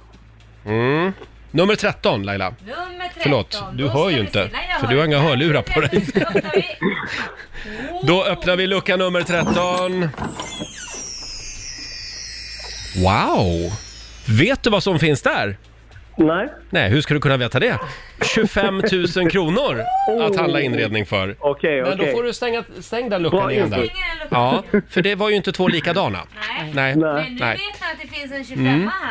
Speaker 1: Mm. Nummer 13 Laila.
Speaker 3: Nummer 13.
Speaker 1: Förlåt, du hör ju inte. För du har inga hörlurar på dig. <laughs> Då öppnar vi lucka nummer 13. Wow! Vet du vad som finns där?
Speaker 9: Nej.
Speaker 1: Nej, hur ska du kunna veta det? 25 000 kronor att handla inredning för.
Speaker 9: Oh. Okej,
Speaker 1: Men då
Speaker 9: okej.
Speaker 1: får du stänga, stäng den luckan
Speaker 9: Bra
Speaker 1: igen
Speaker 9: input.
Speaker 1: där. Ja, för det var ju inte två likadana. Nej.
Speaker 9: Nej.
Speaker 3: Men nu
Speaker 1: Nej.
Speaker 3: vet man att det finns en 25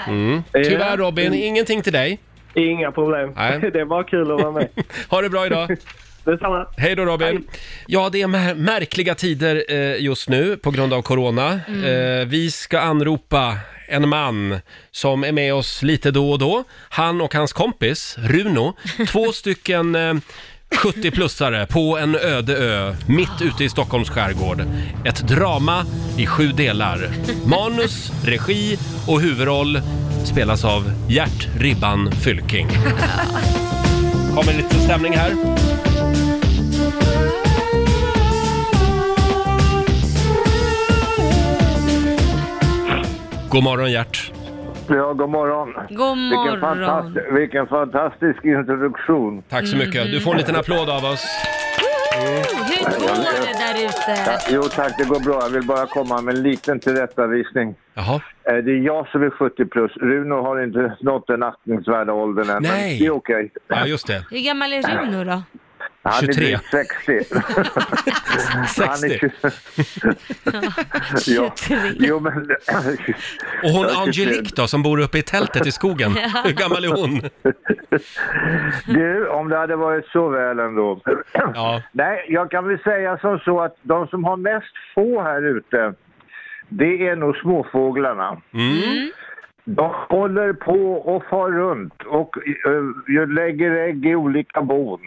Speaker 3: mm. här.
Speaker 1: Tyvärr Robin, ingenting till dig.
Speaker 9: Inga problem.
Speaker 1: Nej.
Speaker 9: <laughs> Det var kul att vara med.
Speaker 1: <laughs> Ha det bra idag.
Speaker 9: <laughs> Detsamma.
Speaker 1: Hej då Robin! Ja, det är mär- märkliga tider eh, just nu på grund av corona. Eh, vi ska anropa en man som är med oss lite då och då. Han och hans kompis Runo, två stycken eh, 70-plussare på en öde ö mitt ute i Stockholms skärgård. Ett drama i sju delar. Manus, regi och huvudroll spelas av Gert Ribban Fylking. Kommer lite stämning här. God morgon Gert!
Speaker 10: Ja, god morgon.
Speaker 3: God
Speaker 10: Vilken,
Speaker 3: morgon.
Speaker 10: fantast- vilken fantastisk introduktion.
Speaker 1: Tack så mycket. Du får en liten applåd av oss.
Speaker 3: Hur går det där där ute.
Speaker 10: Ja, jo tack, det går bra. Jag vill bara komma med en liten tillrättavisning.
Speaker 1: Jaha.
Speaker 10: Eh, Det är jag som är 70 plus. Runo har inte nått den aktningsvärda åldern än. men
Speaker 1: Nej.
Speaker 10: Det är okej.
Speaker 1: Ja, just det.
Speaker 3: Hur gammal är Runo då?
Speaker 10: Han är
Speaker 1: 23.
Speaker 10: drygt
Speaker 1: <laughs>
Speaker 10: 60. Han
Speaker 1: 60.
Speaker 10: är
Speaker 3: <laughs>
Speaker 10: 20. ja.
Speaker 3: 23.
Speaker 10: Jo, men...
Speaker 1: Och hon
Speaker 10: Jag är 23.
Speaker 1: Angelique då, som bor uppe i tältet
Speaker 10: <laughs>
Speaker 1: i skogen. Hur gammal är hon?
Speaker 10: Du, om det hade varit så väl ändå.
Speaker 1: Ja.
Speaker 10: <clears throat> Nej, jag kan väl säga som så att de som har mest få här ute, det är nog småfåglarna.
Speaker 1: Mm.
Speaker 10: De håller på och far runt och eh, lägger ägg i olika bon.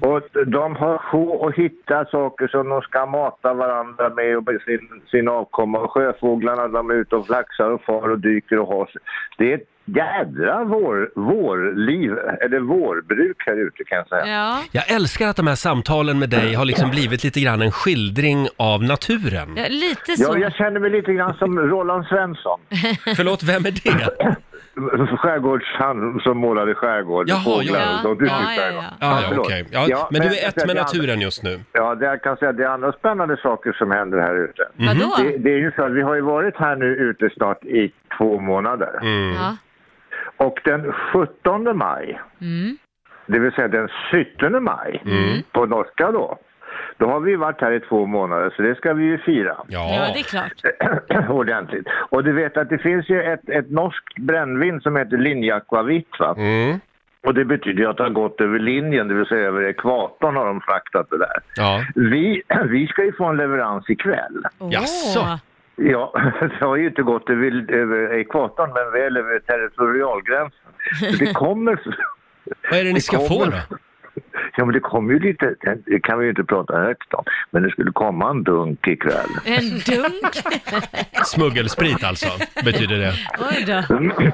Speaker 10: Och de har på att hitta saker som de ska mata varandra med och med sin, sin avkomma. Och sjöfåglarna de är ute och flaxar och far och dyker och har sig. Det är ett jädra vår, vårliv, eller vårbruk här ute kan jag säga.
Speaker 3: Ja.
Speaker 1: Jag älskar att de här samtalen med dig har liksom blivit lite grann en skildring av naturen.
Speaker 3: ja, lite
Speaker 10: Ja, jag
Speaker 3: så.
Speaker 10: känner mig lite grann som Roland Svensson.
Speaker 1: Förlåt, vem är det?
Speaker 10: Skärgårds, han som målade skärgård.
Speaker 1: Jaha,
Speaker 10: fåglar
Speaker 1: ja.
Speaker 10: och sånt. Du
Speaker 3: Ja,
Speaker 10: tyckte
Speaker 3: ja,
Speaker 10: skärgård.
Speaker 3: ja.
Speaker 1: Ja, ja,
Speaker 10: förlåt.
Speaker 1: okej. Ja, men du är ett med
Speaker 10: det
Speaker 1: naturen just nu.
Speaker 10: Ja, det jag kan säga att det är andra spännande saker som händer här ute.
Speaker 3: Mm-hmm. Vadå?
Speaker 10: Det, det är ju så att vi har ju varit här nu ute snart i två månader.
Speaker 1: Mm.
Speaker 3: Mm. Ja.
Speaker 10: Och den 17 maj,
Speaker 1: Mm.
Speaker 10: det vill säga den 17 maj
Speaker 3: Mm.
Speaker 10: på norska då, då har vi varit här i två månader så det ska vi ju fira
Speaker 3: ja,
Speaker 1: Ja.
Speaker 3: det är klart.
Speaker 10: <clears throat> ordentligt. Och du vet att det finns ju ett, ett norskt brännvin som heter linjeakvavitt va?
Speaker 1: Mm.
Speaker 10: Och det betyder ju att det har gått över linjen, det vill säga över ekvatorn har de fraktat det där.
Speaker 1: Ja.
Speaker 10: Vi, <clears throat> vi ska ju få en leverans ikväll.
Speaker 3: Åh.
Speaker 1: Jaså?
Speaker 10: Ja, <laughs> det har ju inte gått över, över ekvatorn men väl över territorialgränsen. Så Det
Speaker 1: <laughs>
Speaker 10: kommer...
Speaker 1: Vad är det ni ska få då?
Speaker 10: <laughs> Ja, men det kommer ju lite... Det kan vi ju inte prata högt om. Men det skulle komma en dunk ikväll.
Speaker 3: En dunk? <laughs>
Speaker 1: Smuggelsprit alltså, betyder det.
Speaker 3: Oj då.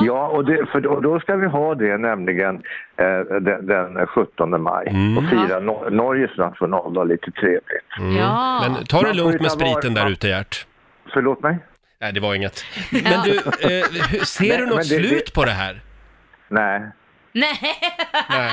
Speaker 10: Ja, och, det, för då, då ska vi ha det nämligen eh, den, den 17 maj
Speaker 1: Mm.
Speaker 10: och fira Nor- Norges nationaldag lite trevligt.
Speaker 3: Ja.
Speaker 1: Mm. Men ta det
Speaker 10: Man får
Speaker 1: lugnt
Speaker 10: ju
Speaker 1: med
Speaker 10: ta var-
Speaker 1: spriten där ute, Gert.
Speaker 10: Förlåt mig?
Speaker 1: Nej, det var inget. Men du, eh, hur- ser
Speaker 10: Nej,
Speaker 1: du
Speaker 10: men
Speaker 1: något
Speaker 10: det- det-
Speaker 1: slut på det här?
Speaker 10: Nej.
Speaker 3: Nej.
Speaker 1: Nej.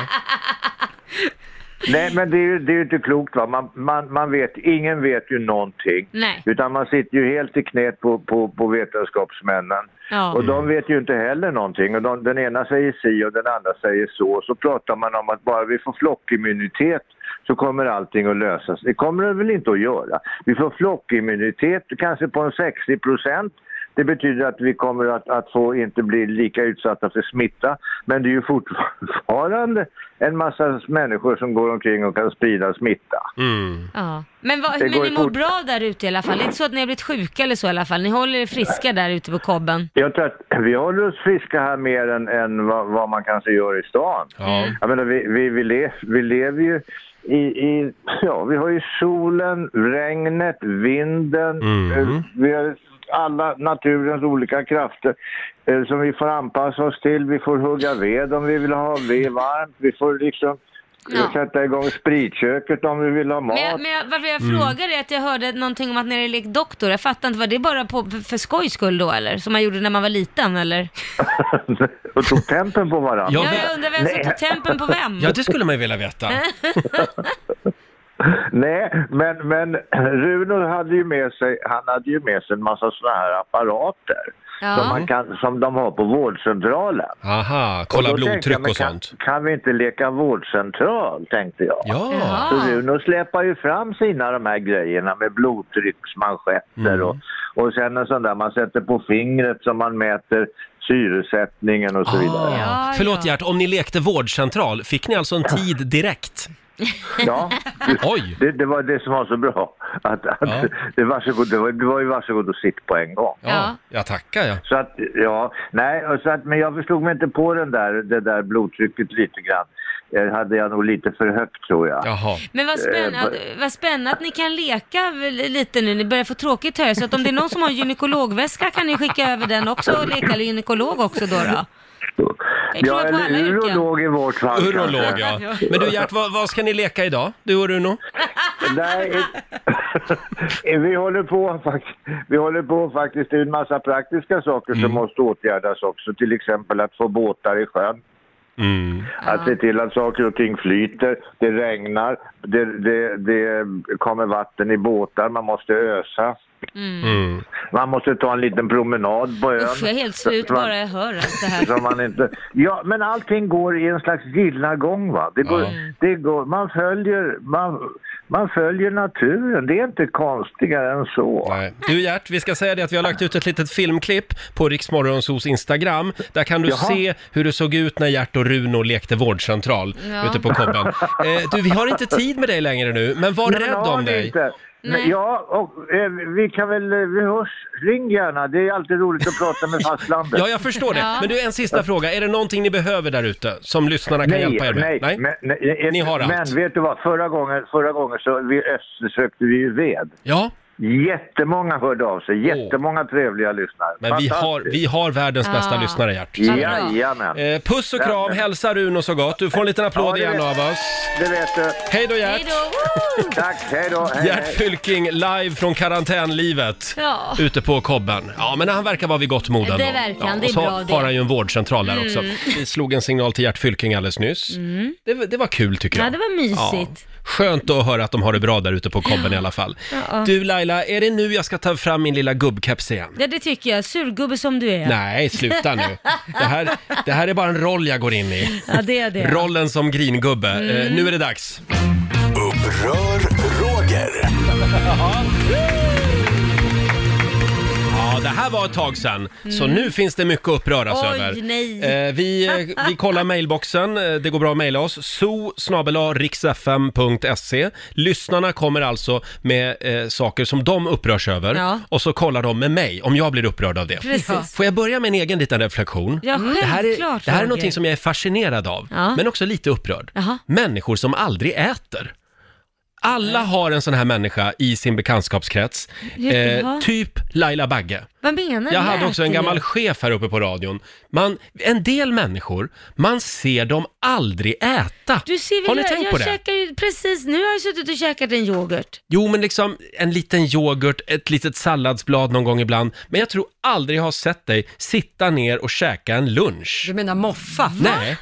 Speaker 10: Nej, men det är ju det är ju inte klokt. Va? Man, man, man vet, ingen vet ju någonting.
Speaker 1: Mm.
Speaker 3: Nej.
Speaker 10: Utan man sitter ju helt i knät på, på, på vetenskapsmännen.
Speaker 3: Ja.
Speaker 10: Och de vet ju inte heller någonting. Och de, den ena säger si och den andra säger så. Och så pratar man om att bara vi får flockimmunitet så kommer allting att lösas. Det kommer det väl inte att göra. Vi får flockimmunitet kanske på en 60 procent. Det betyder att vi kommer att, att få inte bli lika utsatta för smitta. Men det är ju fortfarande en massa människor som går omkring och kan sprida smitta.
Speaker 1: Mm.
Speaker 3: Ja. Men, vad,
Speaker 10: Det
Speaker 3: men
Speaker 10: går
Speaker 3: ni
Speaker 10: ju
Speaker 3: mår
Speaker 10: fort.
Speaker 3: bra där ute i alla fall? Det är inte så att ni har blivit sjuka eller så i alla fall? Ni håller er friska där ute på kobben?
Speaker 10: Jag tror att vi håller oss friska här mer än, än vad, vad man kanske gör i stan.
Speaker 1: Ja.
Speaker 10: Jag menar, vi, vi, vi, le, vi lever ju i, i... Ja, vi har ju solen, regnet, vinden.
Speaker 1: Mm.
Speaker 10: eh, Vi har alla naturens olika krafter eh, som vi får anpassa oss till. Vi får hugga ved om vi vill ha ved varmt. Vi får liksom eh,
Speaker 3: Ja.
Speaker 10: sätta igång spritköket om vi vill ha mat.
Speaker 3: Men, jag, men jag, varför jag
Speaker 1: Mm.
Speaker 3: frågar är att jag hörde någonting om att när det lekt doktor, jag fattar inte, var det bara på, för, för skojs skull då eller? Som man gjorde när man var liten eller?
Speaker 10: <laughs> och tog tempen på varandra.
Speaker 1: Ja,
Speaker 3: Ja,
Speaker 1: det-
Speaker 3: jag undrar vem som tog tempen på vem?
Speaker 1: ja, det skulle man ju
Speaker 3: <laughs>
Speaker 1: vilja veta.
Speaker 10: <laughs> Nej, men, men Runo hade ju med sig, han hade ju med sig en massa sådana här apparater som,
Speaker 3: Ja.
Speaker 10: man kan, som de har på vårdcentralen.
Speaker 1: Aha, kolla
Speaker 10: Då tänkte jag,
Speaker 1: blodtryck
Speaker 10: men
Speaker 1: och sånt.
Speaker 10: Kan, kan vi inte leka vårdcentral, tänkte jag.
Speaker 1: Ja.
Speaker 3: Ja.
Speaker 10: Så Runo släpar ju fram sina de här grejerna med blodtrycksmanschetter
Speaker 1: Mm.
Speaker 10: och, och sen en sån där man sätter på fingret som man mäter syresättningen och så vidare.
Speaker 1: Ah.
Speaker 3: Ja,
Speaker 1: Förlåt
Speaker 3: ja.
Speaker 1: Gert, om ni lekte vårdcentral, fick ni alltså en tid direkt?
Speaker 10: Ja,
Speaker 1: Oj!
Speaker 10: <laughs> det, det var det som var så bra. Att, att
Speaker 1: Ja.
Speaker 10: det, varsågod, det, var, det var ju varsågod och sitt på en gång.
Speaker 1: Ja, jag tackar ja.
Speaker 10: Så att, ja, nej, och så att, men jag förstod mig inte på den där, det där blodtrycket lite grann. Det hade jag nog lite för högt tror jag. Eh,
Speaker 1: Jaha.
Speaker 3: Men vad spännande, vad spännande att ni kan leka väl lite nu, ni börjar få tråkigt här så att om det är någon som har en gynekologväska kan ni skicka över den också och leka eller gynekolog också då. då. Jag tror
Speaker 10: Ja,
Speaker 3: på alla
Speaker 10: eller
Speaker 3: yrken.
Speaker 10: urolog i vårt fall.
Speaker 1: Urolog
Speaker 10: kanske.
Speaker 1: ja. Men du Gert, vad, vad ska ni leka idag? Du och Runo?
Speaker 10: Nej, Eh, vi håller på faktiskt. Vi håller på faktiskt. Det
Speaker 1: Mm.
Speaker 10: är en massa praktiska saker som måste åtgärdas också. Till exempel att få båtar i sjön.
Speaker 1: Mm.
Speaker 10: Att se till att saker och ting flyter, det regnar, det, det, det kommer vatten i båtar, man måste ösa.
Speaker 1: Mm.
Speaker 10: Man måste ta en liten promenad på ön.
Speaker 3: Usch, jag är helt slut
Speaker 10: Så man-
Speaker 3: bara jag hör allt det här.
Speaker 10: Så man inte... Ja, men allting går i en slags gilla gång va. Det går,
Speaker 1: Ja.
Speaker 10: det går, man, följer, man, man följer naturen, det är inte konstigare än så.
Speaker 1: Nej. Du Gert, vi ska säga det att vi har lagt ut ett litet filmklipp på Riksmorgonsos Instagram. Där kan du
Speaker 10: Jaha.
Speaker 1: se hur det såg ut när Gert och Runo lekte vårdcentral
Speaker 3: Ja.
Speaker 1: ute på kobben. Eh, du, vi har inte tid med dig längre nu, men var
Speaker 10: Men
Speaker 1: rädd
Speaker 10: har
Speaker 1: om
Speaker 10: ni
Speaker 1: dig.
Speaker 10: Inte.
Speaker 3: Nej.
Speaker 10: Ja, och eh, vi kan väl, eh, vi hörs. Ring gärna, det är alltid roligt att prata
Speaker 1: <laughs>
Speaker 10: med fastlandet.
Speaker 1: Ja, jag förstår det.
Speaker 3: Ja.
Speaker 1: Men du, en sista fråga. Är det någonting ni behöver där ute som lyssnarna kan hjälpa er med?
Speaker 10: nej, Men, nej, eh,
Speaker 1: Ni har allt.
Speaker 10: men vet du vad, förra gången, förra gången så vi eh, sökte vi ju ved.
Speaker 1: Ja,
Speaker 10: Jättemånga hörde av sig, jättemånga trevliga lyssnare.
Speaker 1: men vi har,
Speaker 10: Fantastiskt.
Speaker 1: vi har världens bästa
Speaker 3: Ja.
Speaker 1: lyssnare, Gert.
Speaker 10: Jajamän,
Speaker 1: Eh, puss och kram, hälsa Runo så gott. Du får en liten applåd
Speaker 10: Ja, det
Speaker 1: igen
Speaker 10: vet-
Speaker 1: av oss.
Speaker 10: det vet du.
Speaker 1: Hej då Gert!
Speaker 3: Hej då! Woo!
Speaker 10: Tack, hej då. Hej,
Speaker 1: Gert
Speaker 10: hej.
Speaker 1: Fylking live från karantänlivet.
Speaker 3: Ja.
Speaker 1: Ute på kobben. Ja, men han verkar vara vid gott mod
Speaker 3: Det
Speaker 1: ändå.
Speaker 3: verkar han,
Speaker 1: och
Speaker 3: det är
Speaker 1: så
Speaker 3: bra det. Mm.
Speaker 1: har han ju en vårdcentral där också. Vi slog en signal till Gert Fylking alldeles nyss. Det, var- det var kul tycker jag.
Speaker 3: Ja, det var mysigt.
Speaker 1: Ja. Skönt att höra att de har det bra där ute på kobben i alla fall.
Speaker 3: Ja.
Speaker 1: Du Laila, är det nu jag ska ta fram min lilla gubbkeps igen?
Speaker 3: Ja, det tycker jag. Surgubbe som du är.
Speaker 1: Nej, sluta nu. Det här, det här är bara en roll jag går in i.
Speaker 3: Ja, det är det.
Speaker 1: Rollen som gringubbe. Eh, nu är det dags.
Speaker 4: Upprör
Speaker 1: <laughs>
Speaker 4: Roger.
Speaker 1: Ja, det här var ett tag sedan. Så nu finns det mycket att uppröras
Speaker 3: Mm. Oj,
Speaker 1: över.
Speaker 3: nej.
Speaker 1: Eh, vi, eh, vi kollar mailboxen. Eh, Det går bra att mejla oss. so riksfm.se. Lyssnarna kommer alltså med eh, saker som de upprörs över.
Speaker 3: Ja.
Speaker 1: Och så kollar de med mig om jag blir upprörd av det.
Speaker 3: Precis.
Speaker 1: Får jag börja med en egen liten reflektion?
Speaker 3: Ja,
Speaker 1: det här är,
Speaker 3: självklart,
Speaker 1: det här är
Speaker 3: Roger.
Speaker 1: någonting som jag är fascinerad av,
Speaker 3: Ja.
Speaker 1: men också lite upprörd.
Speaker 3: Jaha.
Speaker 1: Människor som aldrig äter. Alla har en sån här människa i sin bekantskapskrets. Eh,
Speaker 3: Jaha.
Speaker 1: typ Laila Bagge.
Speaker 3: Vad menar du?
Speaker 1: Jag hade också en
Speaker 3: Äter
Speaker 1: gammal
Speaker 3: du?
Speaker 1: chef här uppe på radion. Man, en del människor, man ser dem aldrig äta.
Speaker 3: Du ser väl,
Speaker 1: har ni
Speaker 3: jag,
Speaker 1: tänkt
Speaker 3: jag
Speaker 1: på det?
Speaker 3: Käkar ju, precis, nu har jag suttit och käkat en yoghurt.
Speaker 1: Jo, men liksom en liten yoghurt, ett litet salladsblad någon gång ibland. Men jag tror aldrig jag har sett dig sitta ner och käka en lunch.
Speaker 2: Du menar moffa?
Speaker 1: Nej.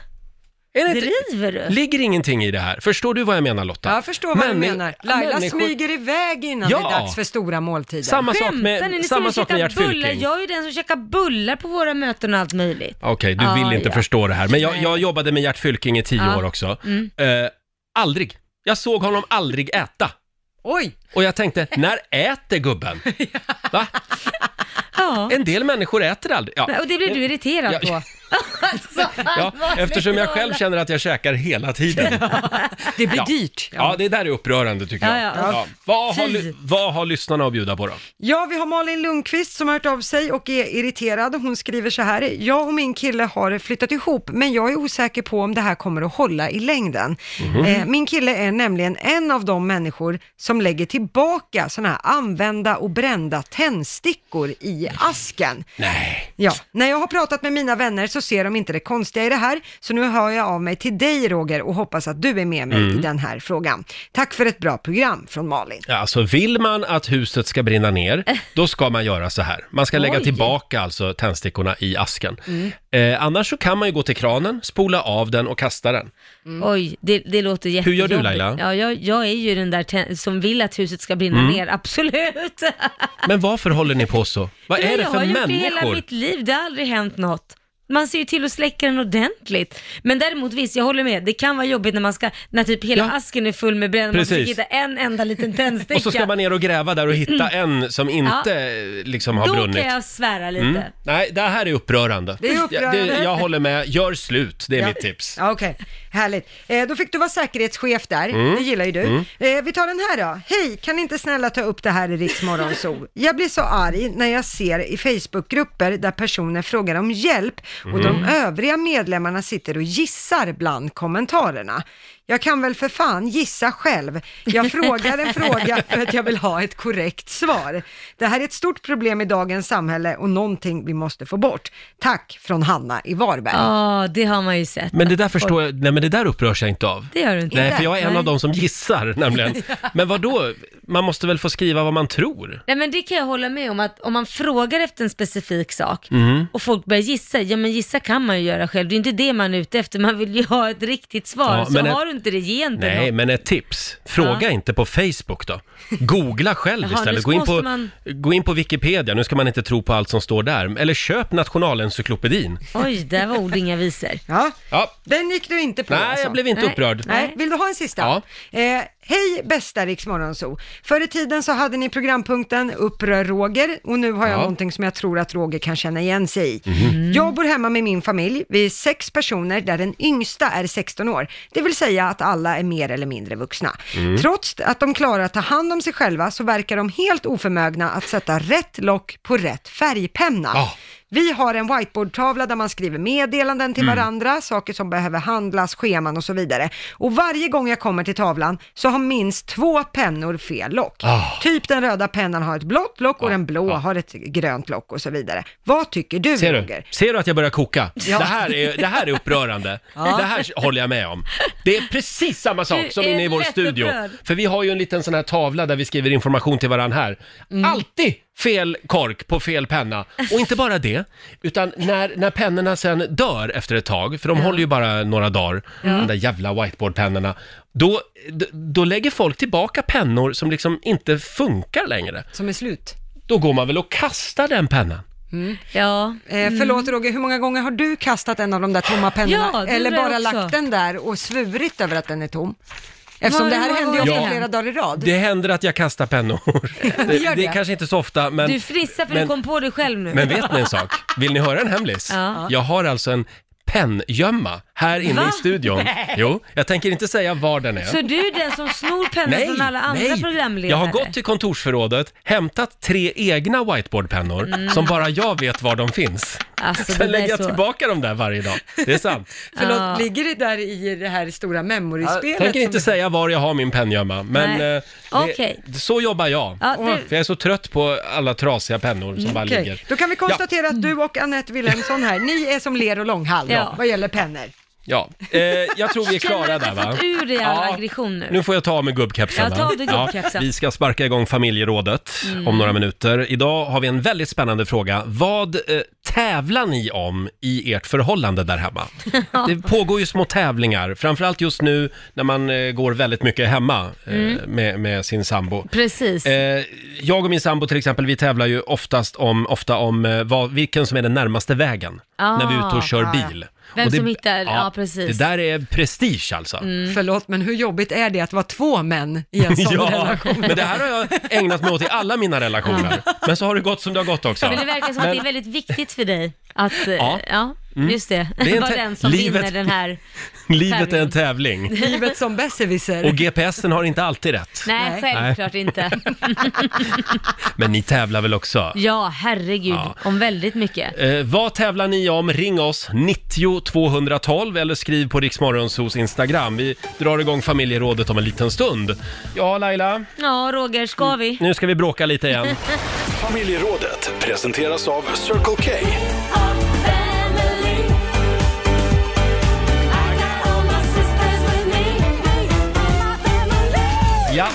Speaker 1: Är det inte,
Speaker 3: Driver du?
Speaker 1: ligger ingenting i det här? Förstår du vad jag menar Lotta?
Speaker 2: Jag förstår vad
Speaker 1: Männi-
Speaker 2: du menar. Laila
Speaker 1: människor-
Speaker 2: smyger iväg innan
Speaker 1: Ja.
Speaker 2: det är dags för stora måltider.
Speaker 1: Samma sak
Speaker 3: Skämtar ni?
Speaker 1: med,
Speaker 3: Ni
Speaker 1: samma
Speaker 3: ser
Speaker 1: sak
Speaker 3: och
Speaker 1: med
Speaker 3: käkar
Speaker 1: Gert
Speaker 3: bullar.
Speaker 1: Fylking.
Speaker 3: Jag är ju den som käkar bullar på våra möten och allt möjligt.
Speaker 1: Okej, du
Speaker 3: Ah,
Speaker 1: vill inte
Speaker 3: ja.
Speaker 1: förstå det här. Men jag,
Speaker 3: Nej.
Speaker 1: jag jobbade med Gert Fylking i tio
Speaker 3: Ja.
Speaker 2: Ah.
Speaker 3: Mm.
Speaker 1: år också. Eh, aldrig. Jag såg honom aldrig äta.
Speaker 2: Oj!
Speaker 1: Och jag tänkte, när
Speaker 3: <laughs>
Speaker 1: äter gubben? Va?
Speaker 3: Ja.
Speaker 1: En del människor äter aldrig. Ja.
Speaker 3: Nej, Och det blir du irriterad
Speaker 1: Ja.
Speaker 3: på. alltså,
Speaker 1: <laughs> Ja,
Speaker 3: allvarligt
Speaker 1: eftersom jag
Speaker 3: talat.
Speaker 1: själv känner att jag käkar hela tiden.
Speaker 2: Det blir
Speaker 1: Ja.
Speaker 2: dyrt.
Speaker 1: Ja, det där är upprörande tycker jag.
Speaker 3: Ja, ja.
Speaker 1: Vad, har,
Speaker 3: Fy.
Speaker 1: ly- vad har lyssnarna att bjuda på då?
Speaker 2: Ja, vi har Malin Lundqvist som har hört av sig och är irriterad. Hon skriver så här. Jag och min kille har flyttat ihop, men jag är osäker på om det här kommer att hålla i längden. Eh, min kille är nämligen en av de människor som lägger tillbaka sådana här använda och brända tändstickor i asken.
Speaker 1: Nej.
Speaker 2: Ja, när jag har pratat med mina vänner så ser de inte det konstiga i det här, så nu hör jag av mig till dig Roger och hoppas att du är med mig i den här frågan. Tack för ett bra program från Malin.
Speaker 1: Ja, Alltså vill man att huset ska brinna ner, då ska man göra så här.
Speaker 3: <laughs>
Speaker 1: Man ska lägga
Speaker 3: Oj.
Speaker 1: tillbaka alltså tändstickorna i asken.
Speaker 3: Mm.
Speaker 1: Eh, annars så kan man ju gå till kranen, spola av den och kasta den.
Speaker 3: Oj, det, det låter jättejobbigt.
Speaker 1: Hur gör du, Laila? Mm.
Speaker 3: Ja, jag, jag är ju den där ten- som vill att huset ska brinna ner, absolut. <laughs>
Speaker 1: Men varför håller ni på så? Vad är det för
Speaker 3: Jag har gjort det hela
Speaker 1: människor?
Speaker 3: mitt liv, det har aldrig hänt något. Man ser ju till att släcka den ordentligt. Men däremot visst, jag håller med, det kan vara jobbigt när man ska, när typ hela
Speaker 1: Ja.
Speaker 3: asken är full med bränd, man försöker
Speaker 1: Precis.
Speaker 3: hitta en enda
Speaker 1: <laughs>
Speaker 3: liten tändsticka.
Speaker 1: Och så ska man ner och gräva där och hitta en som inte eh, liksom har
Speaker 3: Mm. Då
Speaker 1: brunnit.
Speaker 3: kan jag svära lite.
Speaker 1: Mm. Nej, det här är upprörande.
Speaker 2: Det är upprörande.
Speaker 1: Jag, det, jag håller med. Gör slut, det är mitt tips.
Speaker 2: Ja, Okej, härligt. Eh, då fick du vara säkerhetschef där,
Speaker 1: Mm.
Speaker 2: det gillar ju du. Eh, vi tar den här då. Hej, kan ni inte snälla ta upp det här i Riksmorgon Zoo? Jag blir så arg när jag ser i Facebookgrupper där personer frågar om hjälp och
Speaker 1: Mm.
Speaker 2: de övriga medlemmarna sitter och gissar bland kommentarerna. Jag kan väl för fan gissa själv. Jag frågar en fråga för att jag vill ha ett korrekt svar. Det här är ett stort problem i dagens samhälle och någonting vi måste få bort. Tack från Hanna i Varberg.
Speaker 3: Ja, det har man ju sett.
Speaker 1: Men det där förstår jag, nej men det det där upprörs jag inte av.
Speaker 3: Det gör du inte.
Speaker 1: Nej, för jag är en
Speaker 3: Nej.
Speaker 1: av de som gissar
Speaker 3: <laughs>
Speaker 1: nämligen. Men vad då? man måste väl få skriva vad man tror?
Speaker 3: Nej men det kan jag hålla med om att om man frågar efter en specifik sak
Speaker 1: Mm.
Speaker 3: och folk börjar gissa, ja men gissa kan man ju göra själv, det är inte det man är ute efter, man vill ju ha ett riktigt svar,
Speaker 1: Ja,
Speaker 3: så
Speaker 1: men ett-
Speaker 3: har du inte det ge inte
Speaker 1: Nej,
Speaker 3: någon.
Speaker 1: men ett tips. Fråga
Speaker 3: Ja.
Speaker 1: inte på Facebook då. Googla själv
Speaker 3: Jaha, nu
Speaker 1: istället. Gå in,
Speaker 3: måste
Speaker 1: på,
Speaker 3: man-
Speaker 1: gå in på Wikipedia, nu ska man inte tro på allt som står där. Eller köp Nationalencyklopedin.
Speaker 3: Oj, där var ord inga visor.
Speaker 2: Ja,
Speaker 1: Ja.
Speaker 2: den gick du inte på
Speaker 1: Nej,
Speaker 2: alltså.
Speaker 1: jag blev inte
Speaker 3: Nej.
Speaker 1: upprörd.
Speaker 2: Nej, vill du ha en sista?
Speaker 1: Ja.
Speaker 2: Eh, hej bästa Rix Morgonzoo. Förr i tiden så hade ni programpunkten Upprör Roger och nu har jag
Speaker 1: Ja. Mhm.
Speaker 2: någonting som jag tror att Roger kan känna igen sig i. Jag bor hemma med min familj, vi är sex personer där den yngsta är 16 år, det vill säga att alla är mer eller mindre vuxna.
Speaker 1: Mm.
Speaker 2: Trots att de klarar att ta hand om sig själva så verkar de helt oförmögna att sätta rätt lock på rätt färgpenna.
Speaker 1: Ah.
Speaker 2: Vi har en whiteboardtavla där man skriver meddelanden till
Speaker 1: Mm.
Speaker 2: varandra, saker som behöver handlas, scheman och så vidare. Och varje gång jag kommer till tavlan så har minst två pennor fel lock.
Speaker 1: Ah.
Speaker 2: Typ den röda pennan har ett blått lock och den blå har ett grönt lock och så vidare. Vad tycker du,
Speaker 1: Ser du?
Speaker 2: Roger?
Speaker 1: Ser du att jag börjar koka? Det, här är, det här är upprörande. Det här håller jag med om. Det är precis samma sak
Speaker 3: Du
Speaker 1: som
Speaker 3: är
Speaker 1: inne i vår
Speaker 3: lätt
Speaker 1: studio.
Speaker 3: upprörd.
Speaker 1: För vi har ju en liten sån här tavla där vi skriver information till varandra här.
Speaker 2: Mm.
Speaker 1: Alltid fel kork på fel penna. Och inte bara det, utan när, när pennorna sen dör efter ett tag, för de håller ju bara några dagar, de där jävla whiteboardpennorna, då, d- då lägger folk tillbaka pennor som liksom inte funkar längre.
Speaker 2: Som är slut.
Speaker 1: Då går man väl och kastar den pennan.
Speaker 3: Ja, Mm.
Speaker 2: Eh, förlåt Roger, hur många gånger har du kastat en av de där tomma pennorna?
Speaker 3: Ja, det
Speaker 2: Eller
Speaker 3: undrar jag
Speaker 2: bara
Speaker 3: också.
Speaker 2: lagt den där och svurit över att den är tom? Eftersom
Speaker 3: Ja,
Speaker 2: det
Speaker 3: hur
Speaker 2: här
Speaker 3: många
Speaker 2: hände ju
Speaker 3: gånger
Speaker 2: ofta
Speaker 1: har det
Speaker 2: flera
Speaker 3: hänt?
Speaker 2: dagar i rad.
Speaker 1: Det händer att jag
Speaker 3: <laughs>
Speaker 1: kastar pennor. Det,
Speaker 2: gör
Speaker 1: det
Speaker 2: det.
Speaker 1: är kanske inte så ofta, men,
Speaker 3: du frissar för
Speaker 1: men-
Speaker 3: du kom på det själv nu.
Speaker 1: men vet ni en
Speaker 3: <laughs>
Speaker 1: sak? Vill ni höra en hemlis?
Speaker 3: Ja.
Speaker 1: Jag har alltså en penngömma här inne
Speaker 3: Va?
Speaker 1: i studion. Jo, jag tänker inte säga var den är.
Speaker 3: Så du är den som snor pennor från alla andra programledare?
Speaker 1: Jag har gått till kontorsförrådet, hämtat tre egna whiteboardpennor som bara jag vet var de finns.
Speaker 3: Mm. Alltså, det
Speaker 1: Sen
Speaker 3: där
Speaker 1: lägger
Speaker 3: är
Speaker 1: jag
Speaker 3: så...
Speaker 1: tillbaka dem där varje dag. Det
Speaker 3: <laughs>
Speaker 1: är sant.
Speaker 2: Förlåt,
Speaker 3: Ja.
Speaker 2: ligger det där i det här stora memory-spelet?
Speaker 1: Jag tänker inte
Speaker 2: som-
Speaker 1: säga var jag har min penngömma, men
Speaker 3: Nej.
Speaker 1: eh, det,
Speaker 3: Okej.
Speaker 1: så jobbar jag.
Speaker 3: Ja, du- Mm,
Speaker 1: För jag är så trött på alla trasiga pennor som bara
Speaker 2: Mm, Okej,
Speaker 1: ligger.
Speaker 2: Då kan vi konstatera att du och Anette Wilhelmsson här, ni är som ler och långhall
Speaker 3: Ja.
Speaker 2: då, vad gäller pennor.
Speaker 1: Ja, eh, jag tror vi är
Speaker 3: Känner du
Speaker 1: klara
Speaker 3: att
Speaker 1: där
Speaker 3: du
Speaker 1: va?
Speaker 3: fått ur dig all aggression nu?
Speaker 1: Nu får jag ta av mig gubbkepsen
Speaker 3: Ja, ta av
Speaker 1: va?
Speaker 3: dig gubbkepsen. Mm.
Speaker 1: vi ska sparka igång familjerådet om några minuter. Idag har vi en väldigt spännande fråga. Vad eh, tävlar ni om i ert förhållande
Speaker 3: <laughs>
Speaker 1: där hemma? Det pågår ju små tävlingar, framförallt just nu när man eh, går väldigt mycket hemma eh,
Speaker 3: Mm.
Speaker 1: med, med sin sambo.
Speaker 3: Precis.
Speaker 1: Eh, jag och min sambo till exempel, vi tävlar ju oftast om, ofta om eh, vad, vilken som är den närmaste vägen
Speaker 3: Ah.
Speaker 1: när vi är ute och kör bil.
Speaker 3: Vem
Speaker 1: och
Speaker 3: som hittar- ja, precis. Mm.
Speaker 1: Det där är prestige alltså.
Speaker 2: Förlåt, men hur jobbigt är det att vara två män
Speaker 1: <laughs>
Speaker 2: i en sån
Speaker 1: Ja,
Speaker 2: relation?
Speaker 1: men det här har jag ägnat mig åt i alla mina relationer. Men så har det gått som det har gått också.
Speaker 3: Men det verkar som att det är väldigt viktigt för dig att, eh,
Speaker 1: Ja. Mm.
Speaker 3: ja, just det,
Speaker 1: är en
Speaker 3: vara
Speaker 1: tä-
Speaker 3: den som
Speaker 1: livet-
Speaker 3: vinner den här.
Speaker 1: Livet är en tävling
Speaker 3: <laughs>
Speaker 2: Livet som besserwisser.
Speaker 1: och GPSen har inte alltid rätt.
Speaker 3: Nej,
Speaker 2: Nej.
Speaker 3: självklart
Speaker 1: <laughs>
Speaker 3: inte.
Speaker 1: Men ni tävlar väl också?
Speaker 3: Ja, herregud, om väldigt mycket.
Speaker 1: Eh, vad tävlar ni om? Ring oss, 90 212 eller skriv på Riksmorgonsos Instagram. Vi drar igång familjerådet om en liten stund. Ja, Laila,
Speaker 3: Ja, Roger, ska vi?
Speaker 1: nu ska vi bråka
Speaker 3: <laughs>
Speaker 1: lite igen.
Speaker 4: Familjerådet presenteras av Circle K.
Speaker 1: Ja.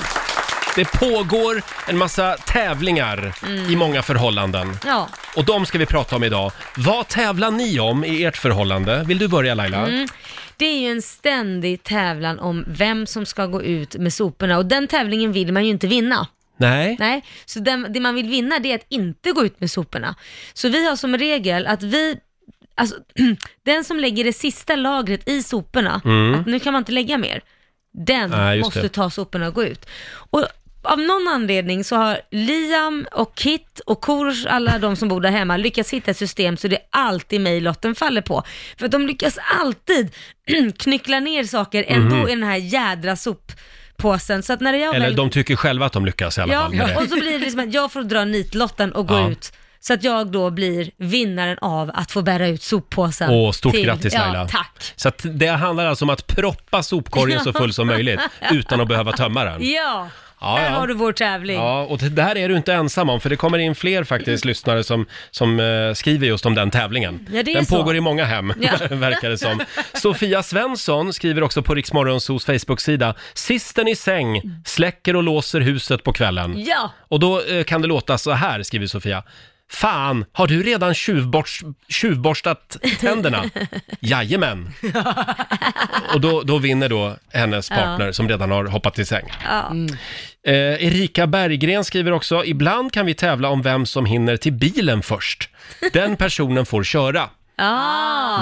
Speaker 1: Det pågår en massa tävlingar i många förhållanden.
Speaker 3: Mm. Ja.
Speaker 1: Och de ska vi prata om idag. Vad tävlar ni om i ert förhållande? Vill du börja Laila?
Speaker 3: Mm. Det är ju en ständig tävlan om vem som ska gå ut med soporna och den tävlingen vill man ju inte vinna.
Speaker 1: Nej.
Speaker 3: Nej, så den, det man vill vinna det är att inte gå ut med soporna. Så vi har som regel att vi, alltså <clears throat> den som lägger det sista lagret i soporna, att nu kan man inte lägga mer, den
Speaker 1: Mm. Nej, just
Speaker 3: måste
Speaker 1: det.
Speaker 3: ta soporna och gå ut. Och av någon anledning så har Liam och Kit och Korosh, alla de som bor där hemma, lyckats hitta ett system så det är alltid mig lotten faller på. För att de lyckas alltid <clears throat> knyckla ner saker ändå i den här jädra soppåsen. Så att när jag
Speaker 1: Mhm. Eller
Speaker 3: väl
Speaker 1: de tycker själva att de lyckas i alla fall med
Speaker 3: Ja,
Speaker 1: det.
Speaker 3: och så blir det liksom att jag får dra nitlotten och gå
Speaker 1: Ja.
Speaker 3: ut. Så att jag då blir vinnaren av att få bära ut soppåsen.
Speaker 1: Åh, stort grattis Laila.
Speaker 3: Ja, tack. <laughs>
Speaker 1: Så att det handlar alltså om att proppa sopkorgen så full som möjligt utan att behöva tömma den.
Speaker 3: Ja,
Speaker 1: Ja,
Speaker 3: Där
Speaker 1: ja.
Speaker 3: har du vår tävling.
Speaker 1: Ja, och det där är du inte ensam om, för det kommer in fler faktiskt lyssnare som, som eh, skriver just om den tävlingen.
Speaker 3: Ja, det är
Speaker 1: den
Speaker 3: så.
Speaker 1: pågår i många hem,
Speaker 3: Ja.
Speaker 1: <laughs> verkar det som. Sofia Svensson skriver också på Riksmorgonsos Facebook-sida, sisten i säng, släcker och låser huset på kvällen.
Speaker 3: Ja.
Speaker 1: Och då eh, kan det låta så här, skriver Sofia. Fan, har du redan tjuvborst, tjuvborstat tänderna? Jajamän! Och då, då vinner då hennes partner som redan har hoppat i säng. Eh, Erika Berggren skriver också, ibland kan vi tävla om vem som hinner till bilen först. Den personen får köra.
Speaker 3: Ah.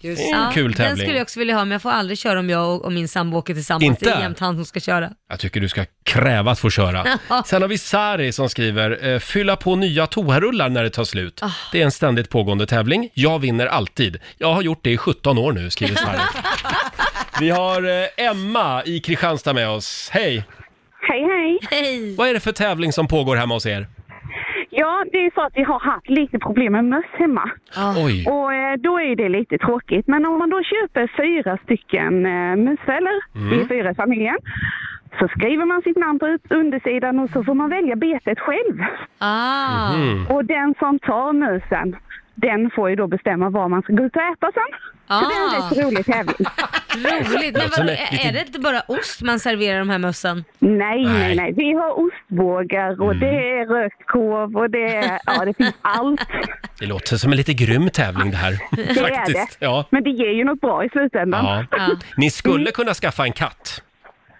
Speaker 1: Det är en Mm. kul
Speaker 3: Den
Speaker 1: tävling.
Speaker 3: skulle jag också vilja ha, men jag får aldrig köra om jag och, och min sambo åker tillsammans.
Speaker 1: Inte?
Speaker 3: Det är jämt han som ska köra.
Speaker 1: Jag tycker du ska kräva att
Speaker 3: <laughs>
Speaker 1: få köra. Sen har vi Sari som skriver, eh, fylla på nya toarullar när det tar slut.
Speaker 3: Ah.
Speaker 1: Det är en ständigt pågående tävling. Jag vinner alltid. Jag har gjort det i 17 år nu,
Speaker 3: <laughs>
Speaker 1: skriver Sari. vi har eh, Emma i Kristianstad med oss. Hej!
Speaker 5: Hej, hej.
Speaker 3: Hej!
Speaker 1: Vad är det för tävling som pågår hemma hos er?
Speaker 5: Ja, det är så att vi har haft lite problem med möss hemma.
Speaker 1: Oj!
Speaker 5: Och eh, då är det lite tråkigt. Men om man då köper fyra stycken eh, musfällor, vi är fyra i familjen, så skriver man sitt namn på ut- undersidan och så får man välja betet själv.
Speaker 3: Ah.
Speaker 5: Och den som tar musen, den får ju då bestämma var man ska gå ut och äta sen. Så det är en
Speaker 3: Ah.
Speaker 5: rätt rolig
Speaker 3: <laughs>
Speaker 5: tävling.
Speaker 3: Roligt! Men
Speaker 1: Låter
Speaker 3: vadå,
Speaker 1: lite-
Speaker 3: är det inte bara ost man serverar de här mössen?
Speaker 5: Nej,
Speaker 1: Nej.
Speaker 5: nej, nej. Vi har ostbågar och det är rökt korv och det är, ja det finns allt.
Speaker 1: Det låter som en lite grym tävling det här.
Speaker 5: Det är det.
Speaker 1: Faktiskt. Ja.
Speaker 5: Men det ger ju något bra i slutändan.
Speaker 1: Ja.
Speaker 3: Ja.
Speaker 1: Ni skulle kunna skaffa en katt.
Speaker 5: <laughs>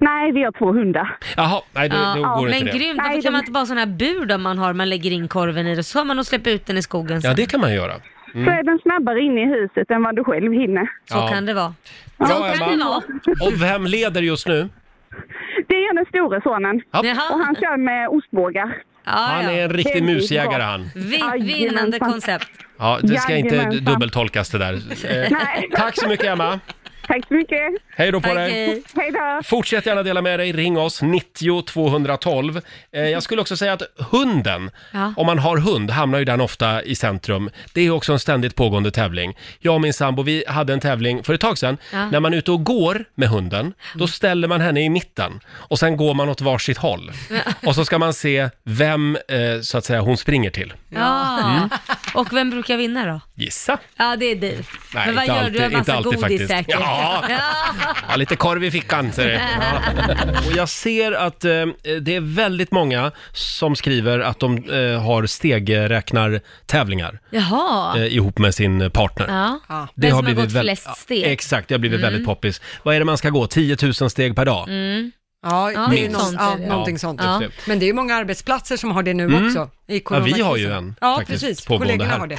Speaker 5: Nej, vi har två hundar.
Speaker 1: Jaha, nej då, då
Speaker 3: Ja,
Speaker 1: går
Speaker 3: men
Speaker 1: inte det.
Speaker 3: grymt, varför
Speaker 5: Nej,
Speaker 3: kan
Speaker 5: de-
Speaker 3: man inte bara ha sådana här bur då man har, man lägger in korven i det, så har man och släpper ut den i skogen sen.
Speaker 1: Ja, det kan man göra.
Speaker 5: Så är den snabbare inne i huset än vad du själv hinner.
Speaker 3: Så
Speaker 1: Mm. Ja.
Speaker 3: kan det vara.
Speaker 1: Bra
Speaker 3: Så kan det
Speaker 1: Emma!
Speaker 3: vara.
Speaker 1: Och vem leder just nu?
Speaker 5: Det är den store sonen. Och
Speaker 3: Jaha.
Speaker 5: han kör med ostbågar.
Speaker 3: Ja,
Speaker 1: Han är
Speaker 3: ja.
Speaker 1: en riktig
Speaker 5: Väldigt
Speaker 1: musjägare
Speaker 5: bra.
Speaker 1: han.
Speaker 3: Vin-
Speaker 5: Aj,
Speaker 3: Vinnande
Speaker 5: jajamensan.
Speaker 3: koncept.
Speaker 1: Ja, det ska inte
Speaker 5: Jajamensan.
Speaker 1: dubbeltolkas det där. Eh,
Speaker 5: Nej,
Speaker 1: tack så mycket Emma!
Speaker 5: tack så mycket.
Speaker 1: Hej då på
Speaker 3: Tack,
Speaker 1: dig!
Speaker 3: hej.
Speaker 5: <laughs> Hej då.
Speaker 1: Fortsätt gärna dela med dig, ring oss, 90 212. Eh, jag skulle också säga att hunden,
Speaker 3: Ja.
Speaker 1: om man har hund, hamnar ju den ofta i centrum. Det är också en ständigt pågående tävling. Jag och min sambo, vi hade en tävling för ett tag sedan.
Speaker 3: Ja.
Speaker 1: När man är ute och går med hunden, då ställer man henne i mitten och sen går man åt varsitt håll. Och så ska man se vem, eh, så att säga, hon springer till.
Speaker 3: Ja. Och vem brukar vinna då?
Speaker 1: Gissa!
Speaker 3: Ja, det är du.
Speaker 1: Mm. Nej,
Speaker 3: Men vad
Speaker 1: inte
Speaker 3: gör
Speaker 1: alltid-
Speaker 3: du? En
Speaker 1: inte
Speaker 3: massa
Speaker 1: alltid
Speaker 3: godis
Speaker 1: faktiskt.
Speaker 3: säkert.
Speaker 1: Ja. Ja, lite korv i
Speaker 3: <laughs>
Speaker 1: fickan ser det. Och jag ser att eh, det är väldigt många som skriver att de eh, har stegräknartävlingar
Speaker 3: Jaha.
Speaker 1: eh, ihop med sin partner.
Speaker 3: Ja.
Speaker 2: Ja.
Speaker 3: Vem som har gått
Speaker 1: väl-
Speaker 3: flest steg. Mm.
Speaker 1: Ja, exakt, det har blivit väldigt poppis. Vad är det man ska gå? 10 000 steg per dag?
Speaker 2: Ja,
Speaker 3: Ja,
Speaker 2: det är
Speaker 3: minst.
Speaker 2: någon, ja,
Speaker 3: Ja,
Speaker 2: någonting sånt.
Speaker 3: ja.
Speaker 2: Men det är ju många arbetsplatser som har det nu Eh,
Speaker 1: Mm.
Speaker 2: också. I
Speaker 1: Ja, vi har
Speaker 2: coronakrisen.
Speaker 1: ju en
Speaker 2: Ja,
Speaker 1: faktiskt
Speaker 2: precis.
Speaker 1: pågående
Speaker 2: Kollegorna
Speaker 1: här.
Speaker 2: har det.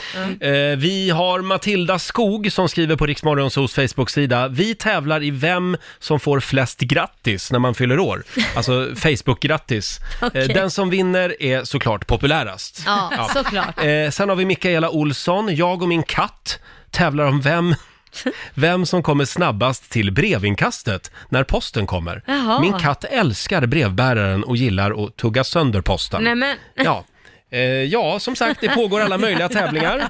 Speaker 2: Mm.
Speaker 1: Eh, vi har Matilda Skog som skriver på Riksmorgonsos Facebook-sida. Vi tävlar i vem som får flest grattis när man fyller
Speaker 2: <laughs>
Speaker 1: år. Alltså Facebook-grattis.
Speaker 3: Okej.
Speaker 1: Eh, den som vinner är såklart populärast.
Speaker 9: <laughs>
Speaker 3: Ja, såklart.
Speaker 1: Eh, sen har vi Mikaela Olsson. Jag och min katt tävlar om
Speaker 2: <laughs>
Speaker 1: vem vem som kommer snabbast till brevinkastet när posten kommer.
Speaker 3: Jaha.
Speaker 1: Min katt älskar brevbäraren och gillar att tugga sönder posten.
Speaker 3: Nej men,
Speaker 1: Ja. Eh, ja, som sagt, det pågår alla möjliga tävlingar.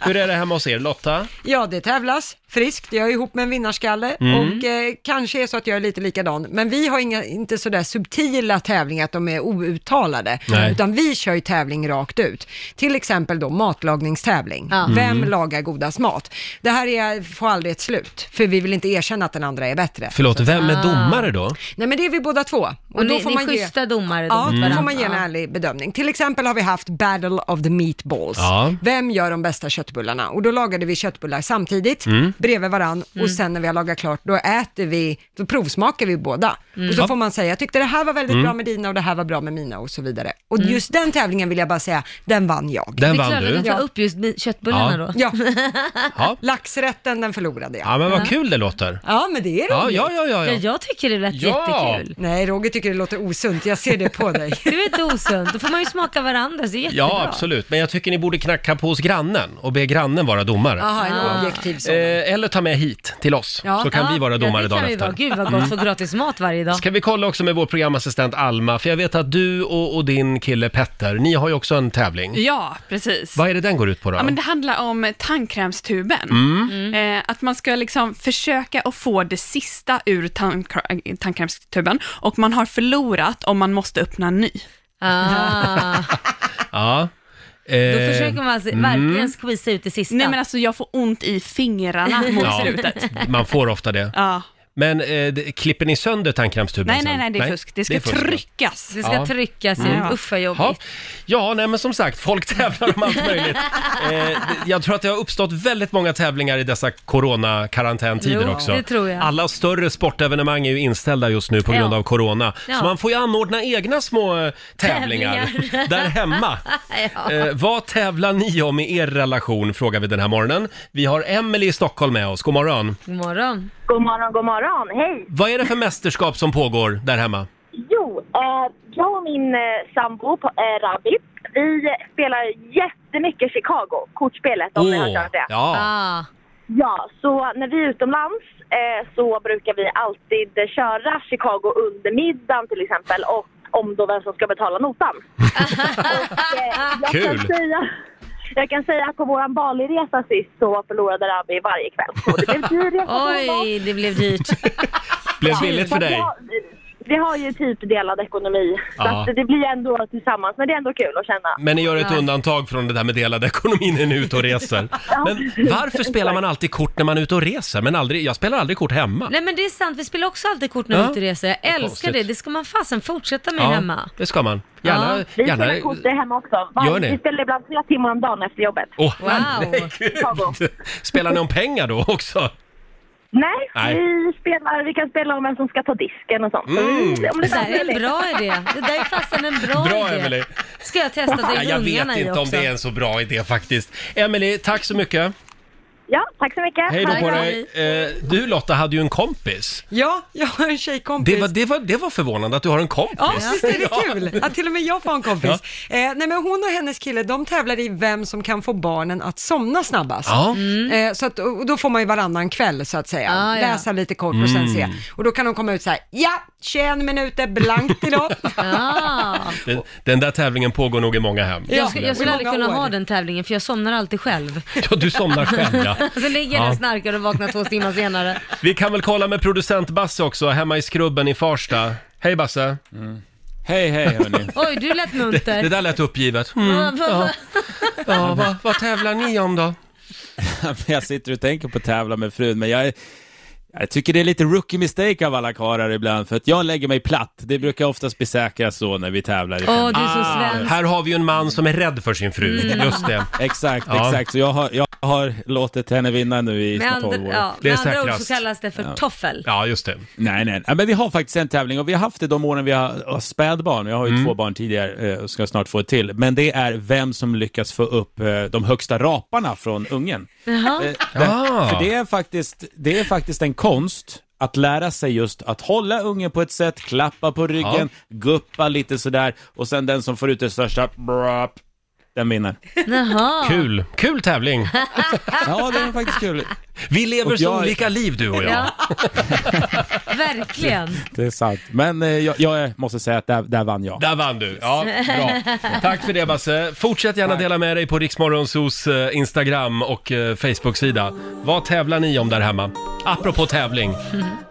Speaker 1: Hur är det hemma hos er, Lotta?
Speaker 2: Ja, det tävlas friskt. Jag är ihop med en vinnarskalle
Speaker 1: Mm.
Speaker 2: och eh, kanske är så att jag är lite likadan. Men vi har inga, inte sådär subtila tävlingar att de är outtalade,
Speaker 1: Nej.
Speaker 2: utan vi kör ju tävling rakt ut. Till exempel då matlagningstävling.
Speaker 3: Ja.
Speaker 2: Vem
Speaker 1: Mm.
Speaker 2: lagar godast mat? Det här är, får aldrig ett slut, för vi vill inte erkänna att den andra är bättre.
Speaker 1: Förlåt, vem
Speaker 3: Ah.
Speaker 1: är domare då?
Speaker 2: Nej, men det är vi båda två. Och,
Speaker 3: och
Speaker 2: då
Speaker 3: ni,
Speaker 2: får
Speaker 3: ni
Speaker 2: man
Speaker 3: är
Speaker 2: ge...
Speaker 3: schyssta domare då
Speaker 2: Ja,
Speaker 3: mot
Speaker 2: då
Speaker 3: varandra.
Speaker 2: får man ge en
Speaker 3: Ja.
Speaker 2: ärlig bedömning. Till exempel har vi haft Battle of the Meatballs.
Speaker 1: Ja.
Speaker 2: Vem gör de bästa köttbullarna? Och då lagade vi köttbullar samtidigt,
Speaker 1: Mm.
Speaker 2: bredvid varann
Speaker 3: Mm.
Speaker 2: och sen när vi har lagat klart, då äter vi, då provsmakar vi båda.
Speaker 3: Mm.
Speaker 2: Och så får man säga, jag tyckte det här var väldigt
Speaker 1: Mm.
Speaker 2: bra med dina och det här var bra med mina och så vidare. Och just den tävlingen vill jag bara säga, den vann jag.
Speaker 3: Mm. Det är
Speaker 1: Den vann
Speaker 3: klart att
Speaker 1: du.
Speaker 3: du tar upp just mi- köttbullarna
Speaker 1: Ja.
Speaker 3: då.
Speaker 2: Ja,
Speaker 3: <laughs>
Speaker 1: Ja.
Speaker 2: laxrätten den förlorade jag.
Speaker 1: ja, men vad kul det låter.
Speaker 2: Ja, men det är
Speaker 1: Ja,
Speaker 2: roligt.
Speaker 1: ja, ja, ja.
Speaker 3: Ja,
Speaker 1: ja.
Speaker 3: jag tycker det lät
Speaker 1: Ja.
Speaker 3: jättekul.
Speaker 2: Nej, Roger tycker det låter osunt, jag ser det på dig.
Speaker 3: Du är inte osund, då får man ju smaka varandras, det är jättebra.
Speaker 1: Ja, absolut. Men jag tycker ni borde knacka på hos grannen och be grannen vara domare.
Speaker 2: Jaha, en objektiv sådan.
Speaker 1: Eh, eller ta med hit till oss,
Speaker 3: Ah. Ja.
Speaker 1: så kan
Speaker 3: Ja,
Speaker 1: vi vara
Speaker 3: ja, det
Speaker 1: domare
Speaker 3: kan
Speaker 1: dagen
Speaker 3: vi
Speaker 1: efter. Mm.
Speaker 3: Vara. Gud vad gott, få gratis mat varje dag.
Speaker 1: Ska vi kolla också med vår programassistent Alma, för jag vet att du och, och din kille Petter, ni har ju också en tävling.
Speaker 11: Ja, precis.
Speaker 1: Vad är det den går ut på då? Mm.
Speaker 11: Ja, men det handlar om tandkrämstuben.
Speaker 3: Mm.
Speaker 11: Eh, att man ska liksom försöka att få det sista ur tandkr- eh, tandkrämstuben och man har förlorat om man måste öppna en ny. <laughs>
Speaker 3: Ah,
Speaker 1: Ja.
Speaker 3: då
Speaker 1: Eh,
Speaker 3: försöker man alltså verkligen squeeza ut det sista.
Speaker 11: Nej men alltså jag får ont
Speaker 3: <laughs>
Speaker 11: i fingrarna <laughs> mot
Speaker 1: Ja.
Speaker 11: slutet.
Speaker 1: man får ofta det.
Speaker 11: Ja.
Speaker 1: Men eh, det- klipper ni sönder tandkrämstuben
Speaker 11: Nej,
Speaker 1: sen?
Speaker 11: nej, nej, det är fusk. Det ska
Speaker 1: är fusk, ja.
Speaker 11: tryckas. Mm.
Speaker 3: Det ska
Speaker 1: Ja.
Speaker 3: tryckas ut. Usch vad jobbigt.
Speaker 1: Ja, ja nej, men som sagt, folk <laughs> tävlar om allt möjligt. Eh, det- jag tror att det har uppstått väldigt många tävlingar i dessa corona-karantäntider
Speaker 3: Jo,
Speaker 1: också.
Speaker 3: det tror jag.
Speaker 1: Alla större sportevenemang är ju inställda just nu på grund
Speaker 3: Ja.
Speaker 1: av corona.
Speaker 3: Ja.
Speaker 1: Så man får ju anordna egna små eh, tävlingar,
Speaker 3: Tävlingar.
Speaker 1: <laughs> där hemma.
Speaker 3: <laughs> Ja.
Speaker 1: Eh, vad tävlar ni om i er relation, frågar vi den här morgonen. Vi har Emelie i Stockholm med oss. God morgon.
Speaker 3: God morgon.
Speaker 5: God morgon, god morgon. Hej!
Speaker 1: Vad är det för mästerskap som pågår där hemma?
Speaker 5: Jo, eh, jag och min eh, sambo på eh, Rabbit, vi spelar jättemycket Chicago, kortspelet om ni har hört talas om det.
Speaker 1: ja.
Speaker 3: Ah.
Speaker 5: Ja, så när vi är utomlands eh, så brukar vi alltid eh, köra Chicago under middagen till exempel och om då vem som ska betala
Speaker 3: <laughs>
Speaker 5: notan. och, eh, jag
Speaker 1: Kul.
Speaker 5: Kan säga, jag kan säga att på vår Bali-resa sist så förlorade Rabbi varje kväll. Så det blev dyr resa för honom.
Speaker 3: Oj, det blev dyrt.
Speaker 1: <laughs> Blev billigt för
Speaker 5: Men
Speaker 1: dig?
Speaker 5: jag- Vi har ju typ delad ekonomi,
Speaker 1: Ja.
Speaker 5: så att det blir ändå tillsammans. Men det är ändå kul att känna.
Speaker 1: Men ni gör ett
Speaker 3: Ja.
Speaker 1: undantag från det där med delad ekonomi när ni är ute och reser. Men varför spelar man alltid kort när man är ute och reser? Men aldrig, jag spelar aldrig kort hemma.
Speaker 3: Nej men det är sant, vi spelar också alltid kort när vi
Speaker 1: Ja.
Speaker 3: är ute och reser. Jag älskar
Speaker 1: konstigt.
Speaker 3: det, det ska man fasen fortsätta med
Speaker 1: Ja,
Speaker 3: hemma.
Speaker 1: det ska man. Gärna...
Speaker 3: Ja.
Speaker 5: Vi
Speaker 1: gärna...
Speaker 5: spelar kort hemma också.
Speaker 1: Gör ni?
Speaker 5: vi spelar ibland flera timmar om dagen efter jobbet.
Speaker 1: Åh,
Speaker 3: Wow.
Speaker 1: herregud.
Speaker 5: Chicago.
Speaker 1: Spelar ni om pengar då också?
Speaker 5: Nej,
Speaker 1: Nej.
Speaker 5: Vi, spelar, vi kan spela om vem som ska ta disken och sånt. Så
Speaker 1: Mm.
Speaker 5: vi- om
Speaker 3: Det
Speaker 5: det
Speaker 3: där
Speaker 5: passar
Speaker 3: är en
Speaker 5: dig.
Speaker 3: bra idé. Det där är fasen en bra,
Speaker 1: Bra,
Speaker 3: idé.
Speaker 1: Emelie.
Speaker 3: Ska jag testa
Speaker 1: <laughs> Ja,
Speaker 3: till
Speaker 1: jag
Speaker 3: ungarna
Speaker 1: vet
Speaker 3: i
Speaker 1: inte om
Speaker 3: också.
Speaker 1: det är en så bra idé faktiskt. Emelie, tack så mycket.
Speaker 5: Ja, tack så
Speaker 1: <laughs>
Speaker 5: mycket.
Speaker 1: Hej då
Speaker 5: Ha det
Speaker 1: på
Speaker 5: bra.
Speaker 1: dig. Eh, Du Lotta hade ju en kompis.
Speaker 2: Ja, jag har en tjejkompis.
Speaker 1: Det var, det, var, det var förvånande att du har en kompis.
Speaker 2: Ja, visst är
Speaker 1: <laughs>
Speaker 2: det kul att till och med jag får en kompis. Eh, nej, men hon och hennes kille, de tävlar i vem som kan få barnen att somna snabbast.
Speaker 1: Ja.
Speaker 2: Eh, så att, och då får man ju varannan kväll så att säga,
Speaker 3: Ah, ja.
Speaker 2: läsa lite kort och sen se.
Speaker 1: Mm.
Speaker 2: Och då kan de komma ut så här, ja, 21 minuter blankt idag.
Speaker 3: Ah.
Speaker 1: Den, den där tävlingen pågår nog i många hem.
Speaker 3: Jag, skulle, jag skulle
Speaker 2: I
Speaker 3: aldrig
Speaker 2: många
Speaker 3: kunna
Speaker 2: år.
Speaker 3: ha den tävlingen för jag somnar alltid själv.
Speaker 1: Ja, du somnar själv ja.
Speaker 3: <laughs> Så ligger jag där och snarkar och vaknar två timmar senare.
Speaker 1: Vi kan väl kolla med producent Basse också, hemma i skrubben i Farsta. Hej Basse!
Speaker 6: Mm. Hej, hej hörni.
Speaker 3: Oj, du lät munter.
Speaker 1: Det där lät uppgivet. Mm, ja. Ja, vad, vad tävlar ni om då?
Speaker 6: <laughs> jag sitter och tänker på att tävla med frun, men jag, är- jag tycker det är lite rookie mistake av alla karlar ibland, för att jag lägger mig platt. Det brukar oftast bli säkrast så när vi tävlar. i
Speaker 3: Åh, du är så Ah. svensk. Mm.
Speaker 1: Här har vi ju en man som är rädd för sin fru, just det.
Speaker 6: Exakt,
Speaker 1: Ja.
Speaker 6: exakt. Så jag har, jag har låtit henne vinna nu i
Speaker 3: Med
Speaker 6: snart 12 år.
Speaker 3: andra, ja,
Speaker 1: Det är
Speaker 3: med andra ord så
Speaker 1: säkrast.
Speaker 3: kallas det för toffel.
Speaker 1: Ja, just det.
Speaker 6: Nej, nej. Ja, Men vi har faktiskt en tävling och vi har haft det de åren vi har har spädbarn. Jag har ju
Speaker 1: Mm.
Speaker 6: två barn tidigare eh, och ska snart få ett till. Men det är vem som lyckas få upp eh, de högsta raparna från ungen.
Speaker 3: Jaha.
Speaker 6: Eh, det-
Speaker 1: Ah.
Speaker 6: För det är, faktiskt, det är faktiskt en konst att lära sig just att hålla ungen på ett sätt, klappa på ryggen, guppa lite sådär och sen den som får ut det största brap, den vinner.
Speaker 3: Jaha.
Speaker 1: Kul! Kul tävling!
Speaker 6: <laughs> Ja, det är faktiskt kul.
Speaker 1: Vi lever
Speaker 6: Och
Speaker 1: så
Speaker 6: jag-
Speaker 1: olika liv du och jag.
Speaker 3: Ja.
Speaker 1: <laughs>
Speaker 3: Verkligen.
Speaker 6: Det är sant. Men eh, jag, jag är- måste säga att där, där vann jag.
Speaker 1: Där vann du! Ja, bra. Tack för det Basse. Fortsätt gärna dela med dig på Riksmorgonsos eh, Instagram och eh, Facebook-sida. Vad tävlar ni om där hemma?
Speaker 3: <laughs>
Speaker 1: Apropå tävling.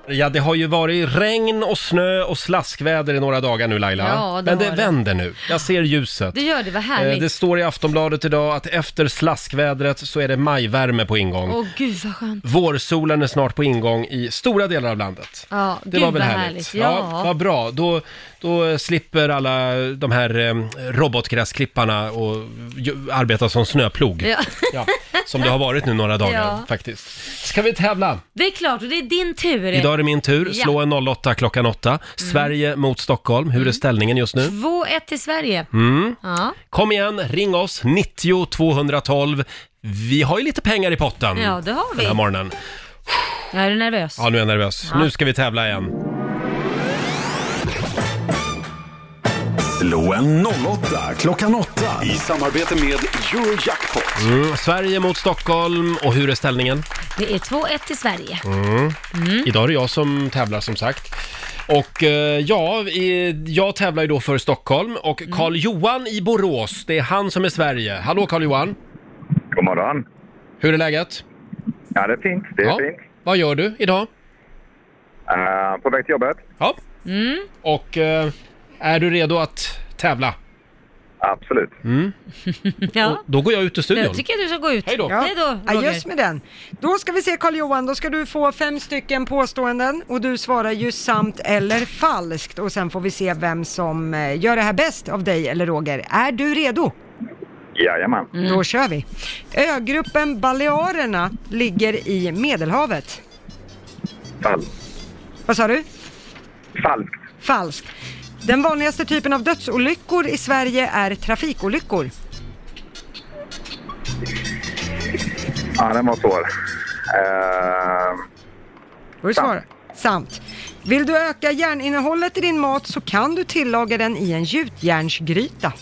Speaker 1: Ja, det har ju varit regn och snö och slaskväder i några dagar nu Laila.
Speaker 3: Ja, det
Speaker 1: Men det
Speaker 3: har det.
Speaker 1: vänder nu. Jag ser ljuset.
Speaker 3: Du gör det, vad
Speaker 1: Eh,
Speaker 3: härligt.
Speaker 1: Det
Speaker 3: Åh
Speaker 1: står i Aftonbladet idag att efter slaskvädret så är det majvärme på ingång.
Speaker 3: gud vad skönt.
Speaker 1: Vårsolen är snart på ingång i stora delar av landet.
Speaker 3: Ja,
Speaker 1: Det
Speaker 3: gud
Speaker 1: var väl
Speaker 3: vad
Speaker 1: härligt?
Speaker 3: härligt.
Speaker 1: ja.
Speaker 3: Ja.
Speaker 1: Vad bra. Då, då slipper alla de här eh, robotgräsklipparna och ju- arbeta som snöplog.
Speaker 3: <laughs> Ja.
Speaker 1: Ja, som det har varit nu några dagar
Speaker 3: Ja.
Speaker 1: faktiskt. Ska vi tävla?
Speaker 3: Det är klart och det är din tur.
Speaker 1: Idag är det min tur.
Speaker 3: Ja. Mm.
Speaker 1: Slå en 08 klockan 8. Sverige mot Stockholm. Hur är ställningen just nu? Mm.
Speaker 3: 2-1 till Sverige. Ja.
Speaker 1: Kom igen, ring oss, 90 212. Vi har ju lite pengar i potten
Speaker 3: ja, det har
Speaker 1: den här
Speaker 3: vi.
Speaker 1: morgonen.
Speaker 3: Jag är nervös.
Speaker 1: Ja, nu är jag nervös. Nu ska vi tävla igen.
Speaker 4: Slå en 08 klockan 8 i samarbete med Eurojackpot.
Speaker 1: Mm, Sverige mot Stockholm och hur är ställningen?
Speaker 3: Det är 2-1 till Sverige.
Speaker 1: Mm. Idag är det jag som tävlar som sagt. Och eh, ja, i- jag tävlar ju då för Stockholm och
Speaker 3: Mm.
Speaker 1: Karl-Johan i Borås, det är han som är Sverige. Hallå Karl-Johan!
Speaker 12: God morgon.
Speaker 1: Hur är läget?
Speaker 12: Ja, det är fint. Det är
Speaker 1: Ja.
Speaker 12: fint.
Speaker 1: Vad gör du idag?
Speaker 12: Eh, på väg till jobbet?
Speaker 1: Ja.
Speaker 3: Mm.
Speaker 1: Och eh, är du redo att tävla?
Speaker 12: Absolut.
Speaker 1: Mm.
Speaker 3: <laughs> Ja.
Speaker 1: Då går jag ut ur studion.
Speaker 3: Jag tycker att du ska gå ut. Hej
Speaker 2: Ja.
Speaker 3: Hej då, Roger.
Speaker 2: Adjöss med den. Då ska vi se Carl Johan, då ska du få fem stycken påståenden och du svarar ju sant eller falskt och sen får vi se vem som eh, gör det här bäst av dig eller Roger. Är du redo?
Speaker 12: Jajamän.
Speaker 3: Mm.
Speaker 2: Då kör vi. Ögruppen Balearerna ligger i Medelhavet.
Speaker 12: Falskt.
Speaker 2: Vad sa du?
Speaker 12: Falskt.
Speaker 2: Falskt. Den vanligaste typen av dödsolyckor i Sverige är trafikolyckor.
Speaker 12: Ja, den var svår. Eh, <laughs>
Speaker 2: Får du svara? Sant. Vill du öka järninnehållet i din mat så kan du tillaga den i en gjutjärnsgryta.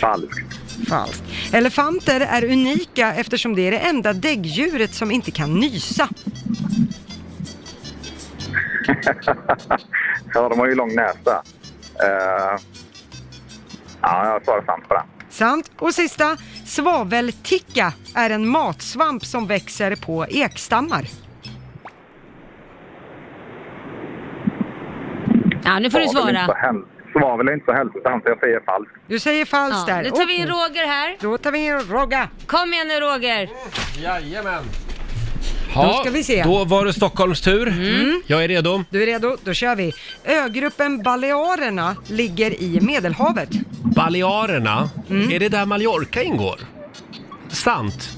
Speaker 12: falskt.
Speaker 2: Falskt. Elefanter är unika eftersom det är det enda däggdjuret som inte kan nysa.
Speaker 12: ja, de har ju lång näsa. Eh, ja, jag svarar sant på den.
Speaker 2: Sant. Och sista, svavelticka är en matsvamp som växer på ekstammar.
Speaker 3: Ja, nu får du
Speaker 12: Svavel är
Speaker 3: svara.
Speaker 12: inte så häl- Svavel är inte så hälsosamt, så jag säger falskt.
Speaker 2: Du säger falskt
Speaker 3: Ja,
Speaker 2: där.
Speaker 3: nu tar vi
Speaker 2: Och-
Speaker 3: in Roger här.
Speaker 2: Då tar vi in Rogga.
Speaker 3: Kom igen nu Roger.
Speaker 1: Jajamän.
Speaker 2: Då ska vi se. Mm.
Speaker 1: Då var det Stockholms tur. Jag är redo.
Speaker 2: Du är redo? Då kör vi. Ögruppen Balearerna ligger i Medelhavet. <laughs>
Speaker 1: Balearerna,
Speaker 3: Mm.
Speaker 1: är det där Mallorca ingår? Sant.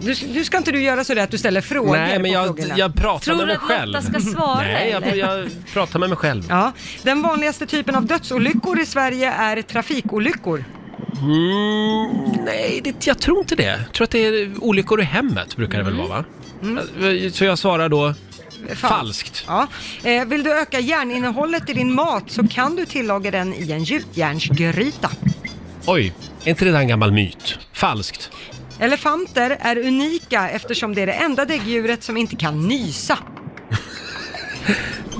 Speaker 2: Nu, nu ska inte du göra så där att du ställer frågor
Speaker 1: Nej, men
Speaker 2: på
Speaker 1: jag,
Speaker 2: frågorna.
Speaker 1: jag pratar
Speaker 3: Tror
Speaker 1: med
Speaker 3: du
Speaker 1: mig
Speaker 3: att
Speaker 1: själv.
Speaker 3: Lotta ska svara
Speaker 1: Nej, jag,
Speaker 3: eller?
Speaker 1: jag pratar med mig själv.
Speaker 2: Ja, den vanligaste typen av dödsolyckor i Sverige är trafikolyckor.
Speaker 1: Mm, nej, det, jag tror inte det. Jag tror att det är olyckor i hemmet, brukar det väl
Speaker 3: Mm.
Speaker 1: vara, va? Så jag svarar då falskt.
Speaker 2: Ja. Eh, vill du öka järninnehållet i din mat så kan du tillaga den i en gjutjärnsgryta.
Speaker 1: Oj, är inte det där en gammal myt? Falskt.
Speaker 2: Elefanter är unika eftersom det är det enda däggdjuret som inte kan nysa.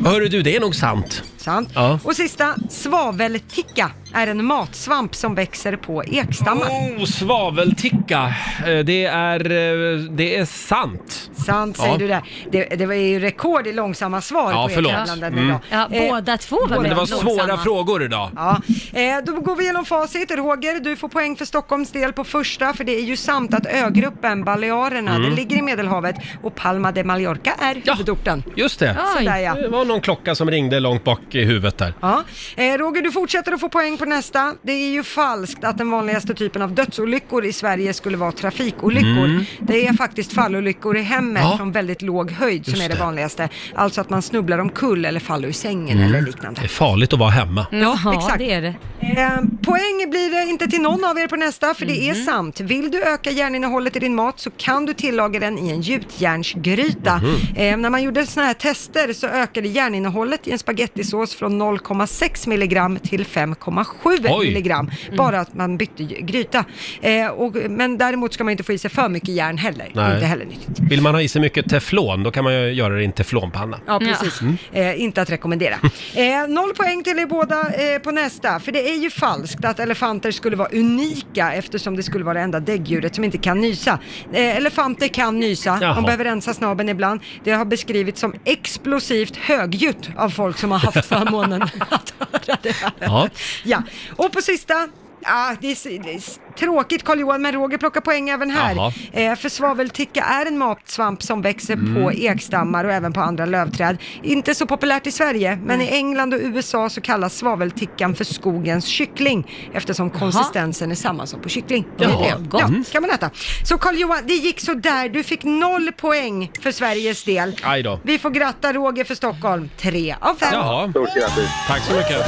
Speaker 1: Hörru du, det är nog sant.
Speaker 2: Sant?
Speaker 1: Ja.
Speaker 2: Och sista, svavelticka är en matsvamp som växer på ekstammar.
Speaker 1: Oh, svavelticka. Eh, Det är, eh, det är sant.
Speaker 2: Sant säger
Speaker 1: Ja.
Speaker 2: du där. Det, det var ju rekord i långsamma svar
Speaker 1: Ja,
Speaker 2: på
Speaker 1: förlåt.
Speaker 2: e-tävlanden
Speaker 1: Mm.
Speaker 2: idag.
Speaker 3: Ja,
Speaker 2: Eh,
Speaker 3: båda två var
Speaker 2: båda.
Speaker 1: Men det var
Speaker 3: långsamma.
Speaker 1: svåra frågor idag.
Speaker 2: Ja, eh, då går vi igenom facit. Roger, du får poäng för Stockholms del på första, för det är ju sant att ögruppen, Balearerna, det ligger i Medelhavet och Palma de Mallorca är
Speaker 1: Mm. Ja.
Speaker 2: huvudorten.
Speaker 1: Just det.
Speaker 2: Sådär
Speaker 3: Oj.
Speaker 2: ja.
Speaker 1: Det var någon klocka som ringde långt bak i huvudet där.
Speaker 2: Ja. Eh, Roger, du fortsätter att få poäng på nästa. Det är ju falskt att den vanligaste typen av dödsolyckor i Sverige skulle vara trafikolyckor. Det är faktiskt fallolyckor i hemmet
Speaker 1: Mm. Ja.
Speaker 2: från väldigt låg höjd som
Speaker 1: Just
Speaker 2: är det
Speaker 1: det.
Speaker 2: vanligaste. Alltså att man snubblar omkull eller faller ur sängen
Speaker 1: Mm.
Speaker 2: eller liknande.
Speaker 1: Det är farligt att vara hemma.
Speaker 3: Ja,
Speaker 2: exakt.
Speaker 3: det är det.
Speaker 2: Eh, poäng blir det inte till någon av er på nästa, för det är
Speaker 3: Mhm.
Speaker 2: sant. Vill du öka järninnehållet i din mat så kan du tillaga den i en gjutjärnsgryta.
Speaker 1: Mhm.
Speaker 2: Eh, när man gjorde sådana här tester så ökade järninnehållet i en spagettisås från 0,6 milligram till 5,7
Speaker 1: Oj.
Speaker 2: milligram.
Speaker 3: Mm.
Speaker 2: Bara att man bytte ju- gryta. Eh, och, men däremot ska man inte få i sig för mycket järn heller.
Speaker 1: Nej.
Speaker 2: Inte heller nyttigt.
Speaker 1: Vill man ha i sig mycket teflon, då kan man ju göra det i en teflonpanna. Mm.
Speaker 2: Ja, precis. Eh, inte att rekommendera. Eh, noll poäng till er båda eh, på nästa, för det är ju falskt att elefanter skulle vara unika eftersom det skulle vara det enda däggdjuret som inte kan nysa. Eh, elefanter kan nysa,
Speaker 1: Jaha.
Speaker 2: de behöver rensa snabeln ibland. Det har beskrivits som explosivt högljutt av folk som har haft förmånen att höra det här.
Speaker 1: Ja.
Speaker 2: Ja, och på sista Ah, det, är, s- det är s- tråkigt Carl Johan, men Roger plockar poäng även
Speaker 1: Jaha.
Speaker 2: här. Eh, för svavelticka är en matsvamp som växer
Speaker 1: Mm.
Speaker 2: på ekstammar och även på andra lövträd. Inte så populärt i Sverige,
Speaker 1: Mm.
Speaker 2: men i England och USA så kallas svaveltickan för skogens kyckling eftersom konsistensen är samma som på kyckling. Det är
Speaker 3: Jaha,
Speaker 2: det.
Speaker 3: gott.
Speaker 2: Ja, kan man äta. Så Carl Johan, det gick så där. Du fick noll poäng för Sveriges del.
Speaker 1: Aj då.
Speaker 2: Vi får gratta Roger för Stockholm. Tre av fem.
Speaker 1: Jaha,
Speaker 12: Stort grattis.
Speaker 1: tack så mycket.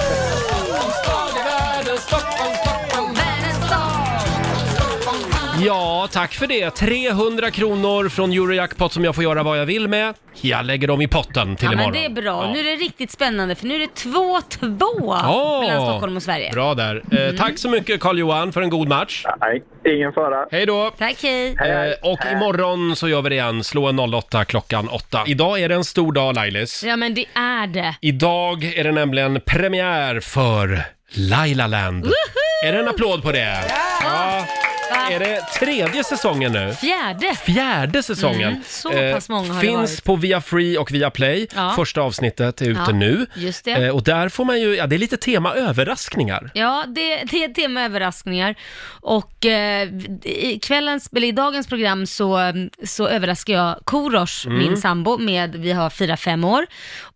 Speaker 1: Ja, tack för det. 300 kronor från Eurojackpot som jag får göra vad jag vill med. Jag lägger dem i potten till
Speaker 3: ja,
Speaker 1: imorgon.
Speaker 3: men det är bra.
Speaker 1: Ja.
Speaker 3: Nu är det riktigt spännande för nu är det 2-2
Speaker 1: Åh!
Speaker 3: mellan Stockholm och Sverige.
Speaker 1: Bra där. Eh,
Speaker 3: Mm.
Speaker 1: Tack så mycket Carl-Johan för en god match.
Speaker 12: Nej, ingen fara.
Speaker 1: Hej då!
Speaker 3: Tack, hej.
Speaker 1: Eh, och imorgon så gör vi det igen. Slå en 08 klockan 8. Idag är det en stor dag Lailis.
Speaker 3: Ja, men det är det.
Speaker 1: Idag är det nämligen premiär för Laila Land.
Speaker 3: Woho!
Speaker 1: Är det en applåd på det? Ja.
Speaker 3: Va?
Speaker 1: Är det tredje säsongen nu?
Speaker 3: Fjärde.
Speaker 1: Fjärde säsongen. Eh,
Speaker 3: Mm, så pass många har det
Speaker 1: Finns
Speaker 3: varit.
Speaker 1: på Viafree och Viaplay.
Speaker 3: Ja.
Speaker 1: Första avsnittet är ute
Speaker 3: Ja,
Speaker 1: nu.
Speaker 3: just det.
Speaker 1: Eh, och där får man ju, ja det är lite tema överraskningar.
Speaker 3: Ja, det, det är ett tema överraskningar. Och eh, i, kvällens, eller i dagens program så, så överraskar jag Korosh,
Speaker 13: Mm.
Speaker 3: min sambo, med vi har firat fem år.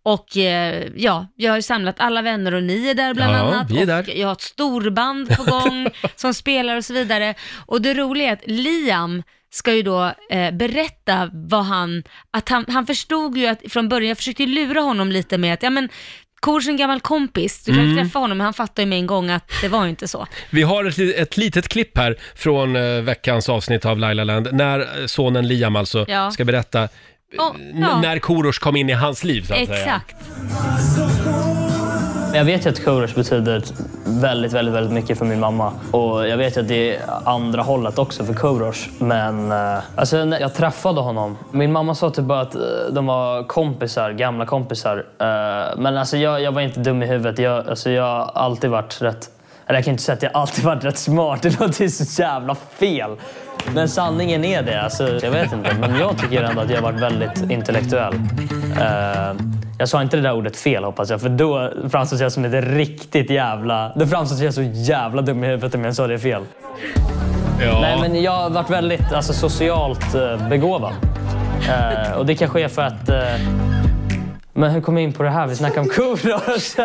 Speaker 3: Och eh, ja, jag har ju samlat alla vänner och ni är där bland
Speaker 13: Ja,
Speaker 3: annat.
Speaker 13: vi är
Speaker 3: och
Speaker 13: där.
Speaker 3: Jag har ett storband på
Speaker 13: <laughs>
Speaker 3: gång som spelar och så vidare. Och det roliga är att Liam ska ju då eh, berätta vad han, att han, han förstod ju att från början, jag försökte ju lura honom lite med att, ja men Kors är en gammal kompis, du kan ju
Speaker 1: Mm.
Speaker 3: träffa honom, men han fattar ju med en gång att det var ju inte så.
Speaker 1: Vi har ett, li- ett litet klipp här från eh, veckans avsnitt av Laila Land när eh, sonen Liam alltså
Speaker 3: Ja.
Speaker 1: ska berätta eh,
Speaker 3: Och,
Speaker 1: n- när Korosh kom in i hans liv så att säga.
Speaker 3: Exakt.
Speaker 7: Jag vet ju att Korosh betyder väldigt, väldigt, väldigt mycket för min mamma. Och jag vet ju att det är andra hållet också för Korosh. Men eh, alltså, när jag träffade honom. Min mamma sa typ bara att eh, de var kompisar, gamla kompisar. Eh, men alltså, jag, jag var inte dum i huvudet. Jag, alltså, jag har alltid varit rätt... Eller jag kan inte säga att jag alltid varit rätt smart. Det låter så jävla fel. Men sanningen är det. Alltså, jag vet inte. Men jag tycker ändå att jag har varit väldigt intellektuell. Eh, jag sa inte det där ordet fel hoppas jag, för då framstod jag som ett riktigt jävla... Då framstod jag så jävla dum i huvudet om jag sa det fel. Nej, men jag har varit väldigt alltså, socialt eh, begåvad. Eh, och det kanske är för att... eh, men hur kom jag in på det här? Vi snackar om Korosh.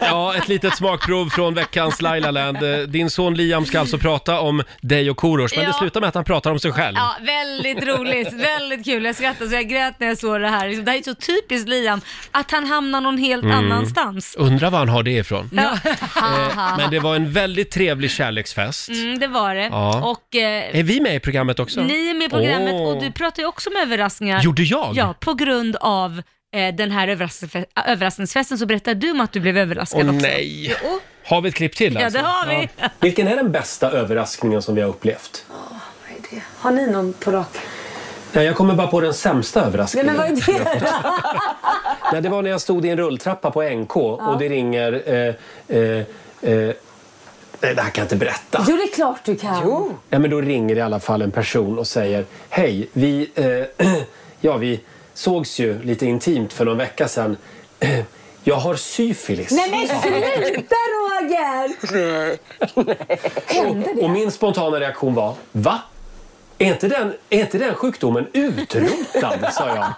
Speaker 1: Ja, ett litet smakprov från veckans Laila Land. Eh, Din son Liam ska alltså prata om dig och Korosh, men det
Speaker 3: Ja.
Speaker 1: slutar med att han pratar om sig själv.
Speaker 3: Ja, väldigt roligt, väldigt kul. Jag skrattade så jag grät när jag såg det här. Liksom, Det här är så typiskt Liam, att han hamnar någon helt
Speaker 1: Mm.
Speaker 3: annanstans.
Speaker 1: Undrar var han har det ifrån.
Speaker 3: Ja.
Speaker 1: Eh, Men det var en väldigt trevlig kärleksfest.
Speaker 3: mm, det var det.
Speaker 1: Ja.
Speaker 3: Och eh,
Speaker 1: Är vi med i programmet också?
Speaker 3: ni är med i programmet
Speaker 1: Åh.
Speaker 3: och du pratar ju också om överraskningar.
Speaker 1: Gjorde jag?
Speaker 3: Ja, på grund av eh, den här överraskningsfe- överraskningsfesten så berättade du om att du blev överraskad
Speaker 1: Åh,
Speaker 3: också.
Speaker 1: nej.
Speaker 3: Jo.
Speaker 1: Har vi ett klipp till alltså?
Speaker 3: Ja, det har vi.
Speaker 1: Vilken är den bästa överraskningen som vi har upplevt?
Speaker 14: Har ni någon på rak?
Speaker 1: Nej, jag kommer bara på den sämsta
Speaker 14: Nej,
Speaker 1: överraskningen.
Speaker 14: men vad är det då?
Speaker 1: Nej, det var när jag stod i en rulltrappa på NK och det ringer... Eh, eh, eh, nej, det här kan jag inte berätta.
Speaker 14: Jo, det är klart du kan. Jo.
Speaker 1: Nej, men då ringer i alla fall en person och säger Hej, vi, eh, <clears throat> ja, vi sågs ju lite intimt för någon vecka sedan. <clears throat> Eh, Jag har syfilis.
Speaker 14: Nej, men sluta Roger! Hände
Speaker 1: Och
Speaker 14: det?
Speaker 1: min spontana reaktion var Va? Är inte den, är inte den sjukdomen utrotad? <laughs> sa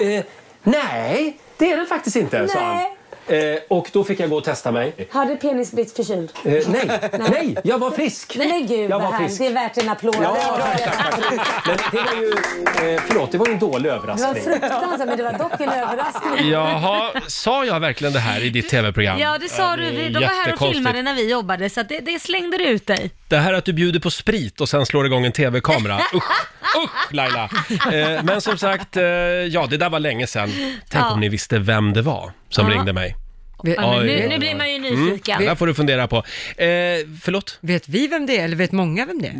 Speaker 1: jag. Eh, nej, det är den faktiskt inte, sa han.
Speaker 14: Nej.
Speaker 1: Eh, och då fick jag gå och testa mig.
Speaker 14: Hade penis blivit förkyld?
Speaker 1: Eh, nej, nej, jag var frisk.
Speaker 14: Nej, men gud
Speaker 1: Jag
Speaker 14: vad
Speaker 1: var
Speaker 14: härligt.
Speaker 1: frisk.
Speaker 14: Det är värt en applåd.
Speaker 1: Ja,
Speaker 14: Det var bra.
Speaker 1: tack, tack, tack. Men det var ju, eh, förlåt, det var ju en dålig
Speaker 14: det var
Speaker 1: överraskning.
Speaker 14: fruktansvärt, men det var dock en överraskning.
Speaker 1: Jaha, sa jag verkligen det här i ditt tv-program?
Speaker 3: Ja, det sa du. Vi- De var här och
Speaker 1: jättekonstigt.
Speaker 3: filmade när vi jobbade, så att det, det slängde du ut dig.
Speaker 1: Det här att du bjuder på sprit och sen slår igång en tv-kamera. Usch, usch Laila! Eh, men som sagt, eh, ja det där var länge sedan. Tänk
Speaker 3: Ja.
Speaker 1: om ni visste vem det var som
Speaker 3: Ja.
Speaker 1: ringde mig.
Speaker 3: Ja, men
Speaker 1: Oj,
Speaker 3: nu,
Speaker 1: oj,
Speaker 3: nu
Speaker 1: oj.
Speaker 3: blir man ju
Speaker 1: Mm,
Speaker 3: nyfiken.
Speaker 1: det där får du fundera på. Eh, förlåt?
Speaker 2: Vet vi vem det är eller vet många vem det är?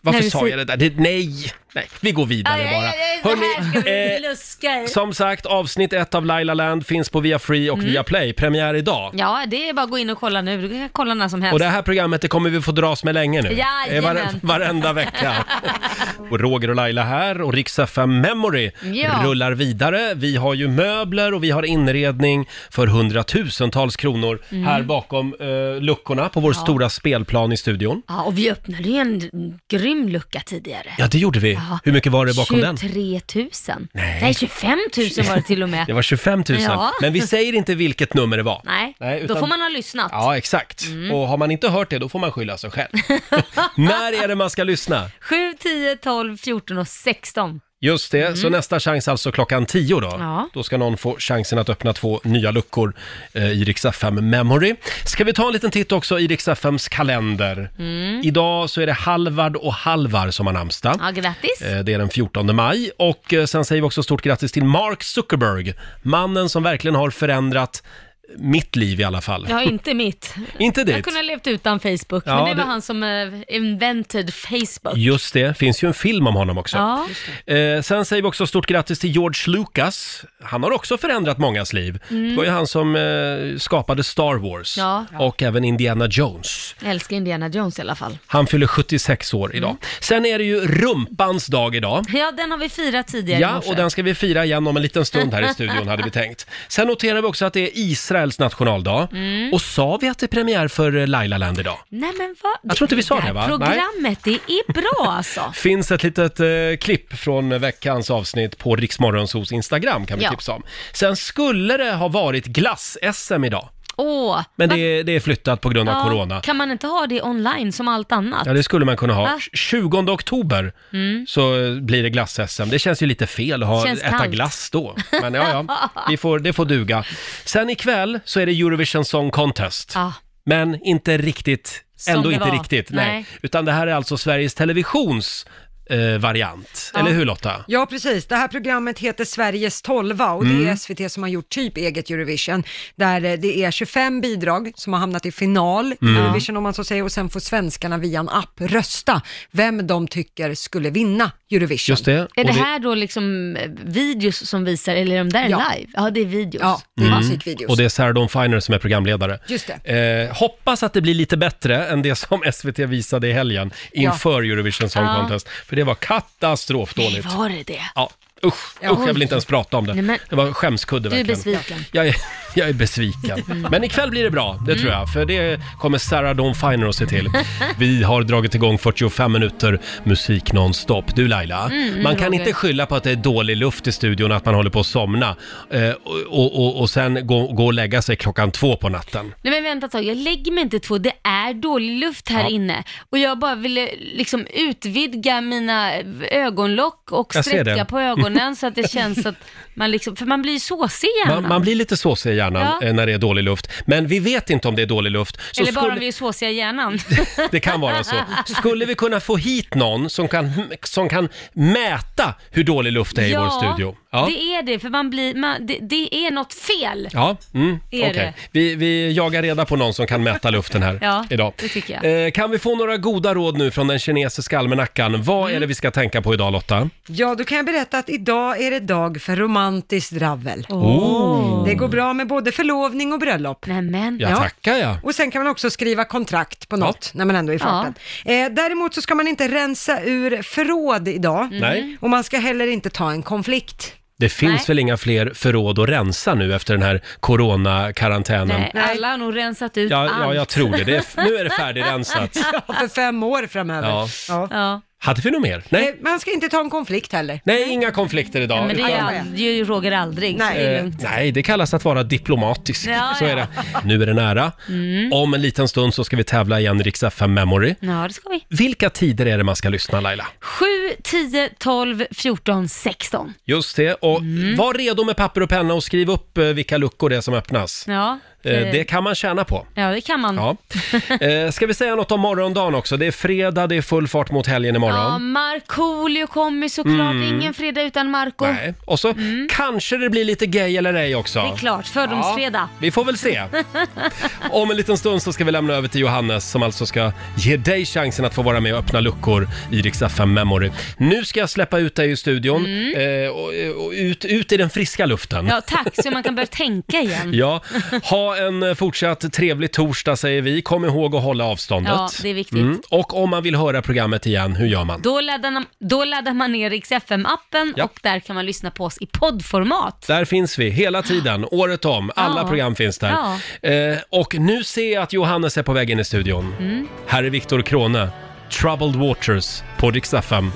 Speaker 1: Varför
Speaker 2: Nej, vi
Speaker 1: sa
Speaker 2: får-
Speaker 1: jag det där? Det, nej, nej, vi går vidare
Speaker 3: Aj, aj, aj,
Speaker 1: bara.
Speaker 3: aj, det
Speaker 1: Hörrni,
Speaker 3: här ska vi
Speaker 1: eh,
Speaker 3: luska i.
Speaker 1: Som sagt, avsnitt ett av Laila Land finns på Via Free och
Speaker 3: Mm.
Speaker 1: Via Play. Premiär idag.
Speaker 3: Ja, det är bara att gå in och kolla nu. Du kan kolla när som helst.
Speaker 1: Och det här programmet det kommer vi få dras med länge nu.
Speaker 3: Jajamän.
Speaker 1: Det är vare,
Speaker 3: <laughs>
Speaker 1: varenda vecka. och Roger och Laila här och Rix FM Memory
Speaker 3: Ja.
Speaker 1: rullar vidare. Vi har ju möbler och vi har inredning för hundratusentals kronor
Speaker 3: Mm.
Speaker 1: här bakom eh, luckorna på vår
Speaker 3: Ja.
Speaker 1: stora spelplan i studion.
Speaker 3: Ja, och vi öppnade ju en grym lucka tidigare.
Speaker 1: Ja, det gjorde vi.
Speaker 3: Ja.
Speaker 1: Hur mycket var det bakom den?
Speaker 3: 23 000. Nej. 25 000 var det till och med.
Speaker 1: <laughs> Det var 25 000.
Speaker 3: Ja.
Speaker 1: Men vi säger inte vilket nummer det var.
Speaker 3: Nej,
Speaker 1: Nej,
Speaker 3: då
Speaker 1: utan-
Speaker 3: får man ha lyssnat.
Speaker 1: Ja, exakt.
Speaker 3: Mm.
Speaker 1: Och har man inte hört det, då får man
Speaker 3: <laughs>
Speaker 1: skylla sig själv. När är det man ska lyssna?
Speaker 3: 7, 10, 12, 14 och 16.
Speaker 1: Just det, så nästa chans alltså klockan 10 då.
Speaker 3: Mm. Ja.
Speaker 1: Då ska någon få chansen att öppna två nya luckor eh, i Rix FM Memory. Ska vi ta en liten titt också i Rix FMs kalender?
Speaker 3: Mm.
Speaker 1: Idag så är det Halvard och Halvar som har namnsdag.
Speaker 3: Ja, grattis.
Speaker 1: Eh, Det är den 14 maj och eh, sen säger vi också stort grattis till Mark Zuckerberg, mannen som verkligen har förändrat mitt liv i alla fall.
Speaker 3: Ja, inte mitt.
Speaker 1: Inte
Speaker 3: Jag
Speaker 1: ditt.
Speaker 3: kunde ha levt utan Facebook, men
Speaker 1: Ja,
Speaker 3: det var
Speaker 1: det-
Speaker 3: han som eh, invented Facebook.
Speaker 1: <laughs> Just det, finns ju en film om honom också.
Speaker 3: Ja.
Speaker 1: Eh, sen säger vi också stort grattis till George Lucas. Han har också förändrat mångas liv.
Speaker 3: Mm.
Speaker 1: Det var ju han som eh, skapade Star Wars
Speaker 3: Ja.
Speaker 1: och även Indiana Jones.
Speaker 3: Jag Mm. älskar Indiana Jones i alla fall.
Speaker 1: Han fyller 76 år
Speaker 3: Mm.
Speaker 1: idag. Sen är det ju rumpans dag idag.
Speaker 3: Ja, den har vi firat tidigare i
Speaker 1: Ja,
Speaker 3: morse.
Speaker 1: och den ska vi fira igen om en liten stund här i studion hade vi tänkt. Sen noterar vi också att det är Israels nationaldag.
Speaker 3: Mm.
Speaker 1: Och sa vi att det är premiär för eh, Laila Land idag?
Speaker 3: Nej men vad?
Speaker 1: Jag tror inte vi sa
Speaker 3: här
Speaker 1: det, va?
Speaker 3: Programmet, det är
Speaker 1: <laughs>
Speaker 3: bra alltså.
Speaker 1: finns ett litet eh, klipp från veckans avsnitt på Riksmorgonsos Instagram kan vi
Speaker 3: Ja.
Speaker 1: tipsa om. Sen skulle det ha varit glass-SM idag,
Speaker 3: Åh,
Speaker 1: men
Speaker 3: va-
Speaker 1: det är, det är flyttat på grund av
Speaker 3: Ja,
Speaker 1: corona.
Speaker 3: Kan man inte ha det online som allt annat?
Speaker 1: Ja, det skulle man kunna ha.
Speaker 3: Va?
Speaker 1: 20 oktober
Speaker 3: Mm.
Speaker 1: så eh, blir det glass-SM. Det känns ju lite fel att ha,
Speaker 3: Känns
Speaker 1: äta
Speaker 3: kallt.
Speaker 1: glass då. Men ja, ja,
Speaker 3: <laughs>
Speaker 1: vi får, det får duga. Sen ikväll så är det Eurovision Song Contest.
Speaker 3: Ja.
Speaker 1: Men inte riktigt,
Speaker 3: Som
Speaker 1: ändå
Speaker 3: det
Speaker 1: inte
Speaker 3: var.
Speaker 1: riktigt. Nej.
Speaker 3: Nej.
Speaker 1: Utan det här är alltså Sveriges Televisions eh, variant.
Speaker 2: Ja.
Speaker 1: Eller hur Lotta?
Speaker 2: Ja, precis. Det här programmet heter Sveriges 12 och det är
Speaker 1: Mm.
Speaker 2: SVT som har gjort typ eget Eurovision, där eh, det är 25 bidrag som har hamnat i final i
Speaker 13: Mm.
Speaker 2: Eurovision om man så säger, och sen får svenskarna via en app rösta vem de tycker skulle vinna Eurovision.
Speaker 1: Just det.
Speaker 3: Är det här då liksom eh, videos som visar, eller är de där
Speaker 2: Ja.
Speaker 3: live? Ja, det är videos.
Speaker 2: Ja,
Speaker 1: Mm. Och det är Sarah Dawn Finer som är programledare.
Speaker 2: Just
Speaker 1: Eh, hoppas att det blir lite bättre än det som <laughs> SVT visade i helgen inför Eurovision Song
Speaker 3: Ja.
Speaker 1: Contest. För det var
Speaker 3: Nej,
Speaker 1: katastrofdåligt.
Speaker 3: var det det?
Speaker 1: Ja, usch,
Speaker 3: Ja.
Speaker 1: usch, jag vill inte ens prata om det.
Speaker 3: Nej, men-
Speaker 1: Det var skämskudde
Speaker 3: Du är
Speaker 1: verkligen.
Speaker 3: besviken. Mm.
Speaker 1: Jag är, jag är besviken. Men ikväll blir det bra, det tror jag. För det kommer Sarah Dawn Finer att
Speaker 3: <laughs>
Speaker 1: se till. Vi har dragit igång 45 minuter musik nonstop. Du Laila,
Speaker 15: Mm,
Speaker 1: man kan
Speaker 15: Roger.
Speaker 1: inte skylla på att det är dålig luft i studion, att man håller på att somna eh, och, och, och sen gå, gå och lägga sig klockan två på natten.
Speaker 3: Nej men vänta ett tag, jag lägger mig inte två, det är dålig luft här
Speaker 1: Ja.
Speaker 3: inne. Och jag bara ville liksom utvidga mina ögonlock och
Speaker 1: Jag ser
Speaker 3: sträcka
Speaker 1: det.
Speaker 3: på ögonen så att det känns att man liksom, för man blir ju såsig i hjärnan.
Speaker 1: Man, man blir lite såsig i hjärnan
Speaker 3: Ja.
Speaker 1: eh, när det är dålig luft. Men vi vet inte om det är dålig luft. Så
Speaker 3: Eller bara
Speaker 1: skulle-
Speaker 3: om vi är såsiga i hjärnan.
Speaker 1: Det kan vara så. Skulle vi kunna få hit någon som kan, som kan mäta hur dålig luft <laughs> det är i vår studio?
Speaker 3: Ja, det är det, för man blir, man, det, det är något fel.
Speaker 1: Ja, mm,
Speaker 3: Är det?
Speaker 1: okej. Vi, vi jagar reda på någon som kan mäta luften här
Speaker 3: Ja,
Speaker 1: idag.
Speaker 3: det tycker jag.
Speaker 1: Eh, kan vi få några goda råd nu från den kinesiska almanackan? Vad
Speaker 3: Mm.
Speaker 1: är det vi ska tänka på idag Lotta?
Speaker 2: Ja, då kan jag berätta att idag är det dag för romantiskt dravel.
Speaker 1: Oh.
Speaker 2: Det går bra med både förlovning och bröllop.
Speaker 3: Nämen.
Speaker 1: Ja, tackar jag.
Speaker 2: Och sen kan man också skriva kontrakt på något när man ändå är i farten. Eh, däremot så ska man inte rensa ur förråd idag.
Speaker 1: Mm. Nej.
Speaker 2: Och man ska heller inte ta en konflikt.
Speaker 1: Det finns
Speaker 2: Nej.
Speaker 1: väl inga fler förråd att rensa nu efter den här coronakarantänen?
Speaker 3: Nej, alla har nog rensat ut
Speaker 1: Ja,
Speaker 3: allt.
Speaker 1: ja, jag tror det. det är, nu är det färdigrensat.
Speaker 2: <laughs> Ja, för fem år framöver.
Speaker 1: Ja.
Speaker 2: Ja.
Speaker 1: Hade vi något mer? Nej,
Speaker 2: Eh, Man ska inte ta en konflikt heller.
Speaker 1: Nej inga konflikter idag.
Speaker 3: Men det
Speaker 1: utan-
Speaker 3: gör ald- gör ju Roger aldrig. så det är
Speaker 1: Eh,
Speaker 3: lugnt.
Speaker 1: nej, det kallas att vara diplomatisk.
Speaker 3: Ja,
Speaker 1: så är
Speaker 3: ja.
Speaker 1: det. Nu är det nära.
Speaker 3: Mm.
Speaker 1: Om en liten stund så ska vi tävla igen i Rix FM Memory.
Speaker 3: Ja, det ska vi.
Speaker 1: Vilka tider är det man ska lyssna Laila?
Speaker 3: 7, 10, 12, 14, 16.
Speaker 1: Just det, och
Speaker 3: Mm.
Speaker 1: var redo med papper och penna och skriv upp eh, vilka luckor det är som öppnas.
Speaker 3: Ja,
Speaker 1: Eh, Det kan man tjäna på.
Speaker 3: ja, det kan man.
Speaker 1: Ja.
Speaker 3: Mm.
Speaker 1: <laughs> Eh, Ska vi säga något om morgondagen också? Det är fredag, det är full fart mot helgen
Speaker 3: Ja,
Speaker 1: imorgon.
Speaker 3: Markoolio kommer såklart.
Speaker 1: Mm.
Speaker 3: Ingen fredag utan Marco
Speaker 1: Nej. Och så kanske det blir lite gay eller ej också.
Speaker 3: Mm. Det är klart, fördomsfredag.
Speaker 1: Vi får
Speaker 3: <laughs>
Speaker 1: väl se. Om en liten stund så ska vi lämna över till Johannes som alltså ska ge dig chansen att få vara med och öppna luckor i Rix FM Memory. Nu ska jag släppa ut dig i studion eh, och, och ut, ut i den friska luften.
Speaker 3: Mm. Ja, tack, så man kan börja tänka igen.
Speaker 1: Ja. ha en eh, fortsatt trevlig torsdag säger vi. Kom ihåg att hålla avståndet. Mm.
Speaker 3: Ja, det är viktigt.
Speaker 1: Och om man vill höra programmet igen, hur gör man?
Speaker 3: Då laddar, man, då laddar man ner Rix FM-appen
Speaker 1: Ja.
Speaker 3: och där kan man lyssna på oss i poddformat.
Speaker 1: Där finns vi hela tiden, året om. Alla
Speaker 3: Ja.
Speaker 1: program finns där.
Speaker 3: Ja.
Speaker 1: Eh, och nu ser jag att Johannes är på väg in i studion.
Speaker 3: Mm.
Speaker 1: Här är Viktor Krone, Troubled Waters på Rix FM.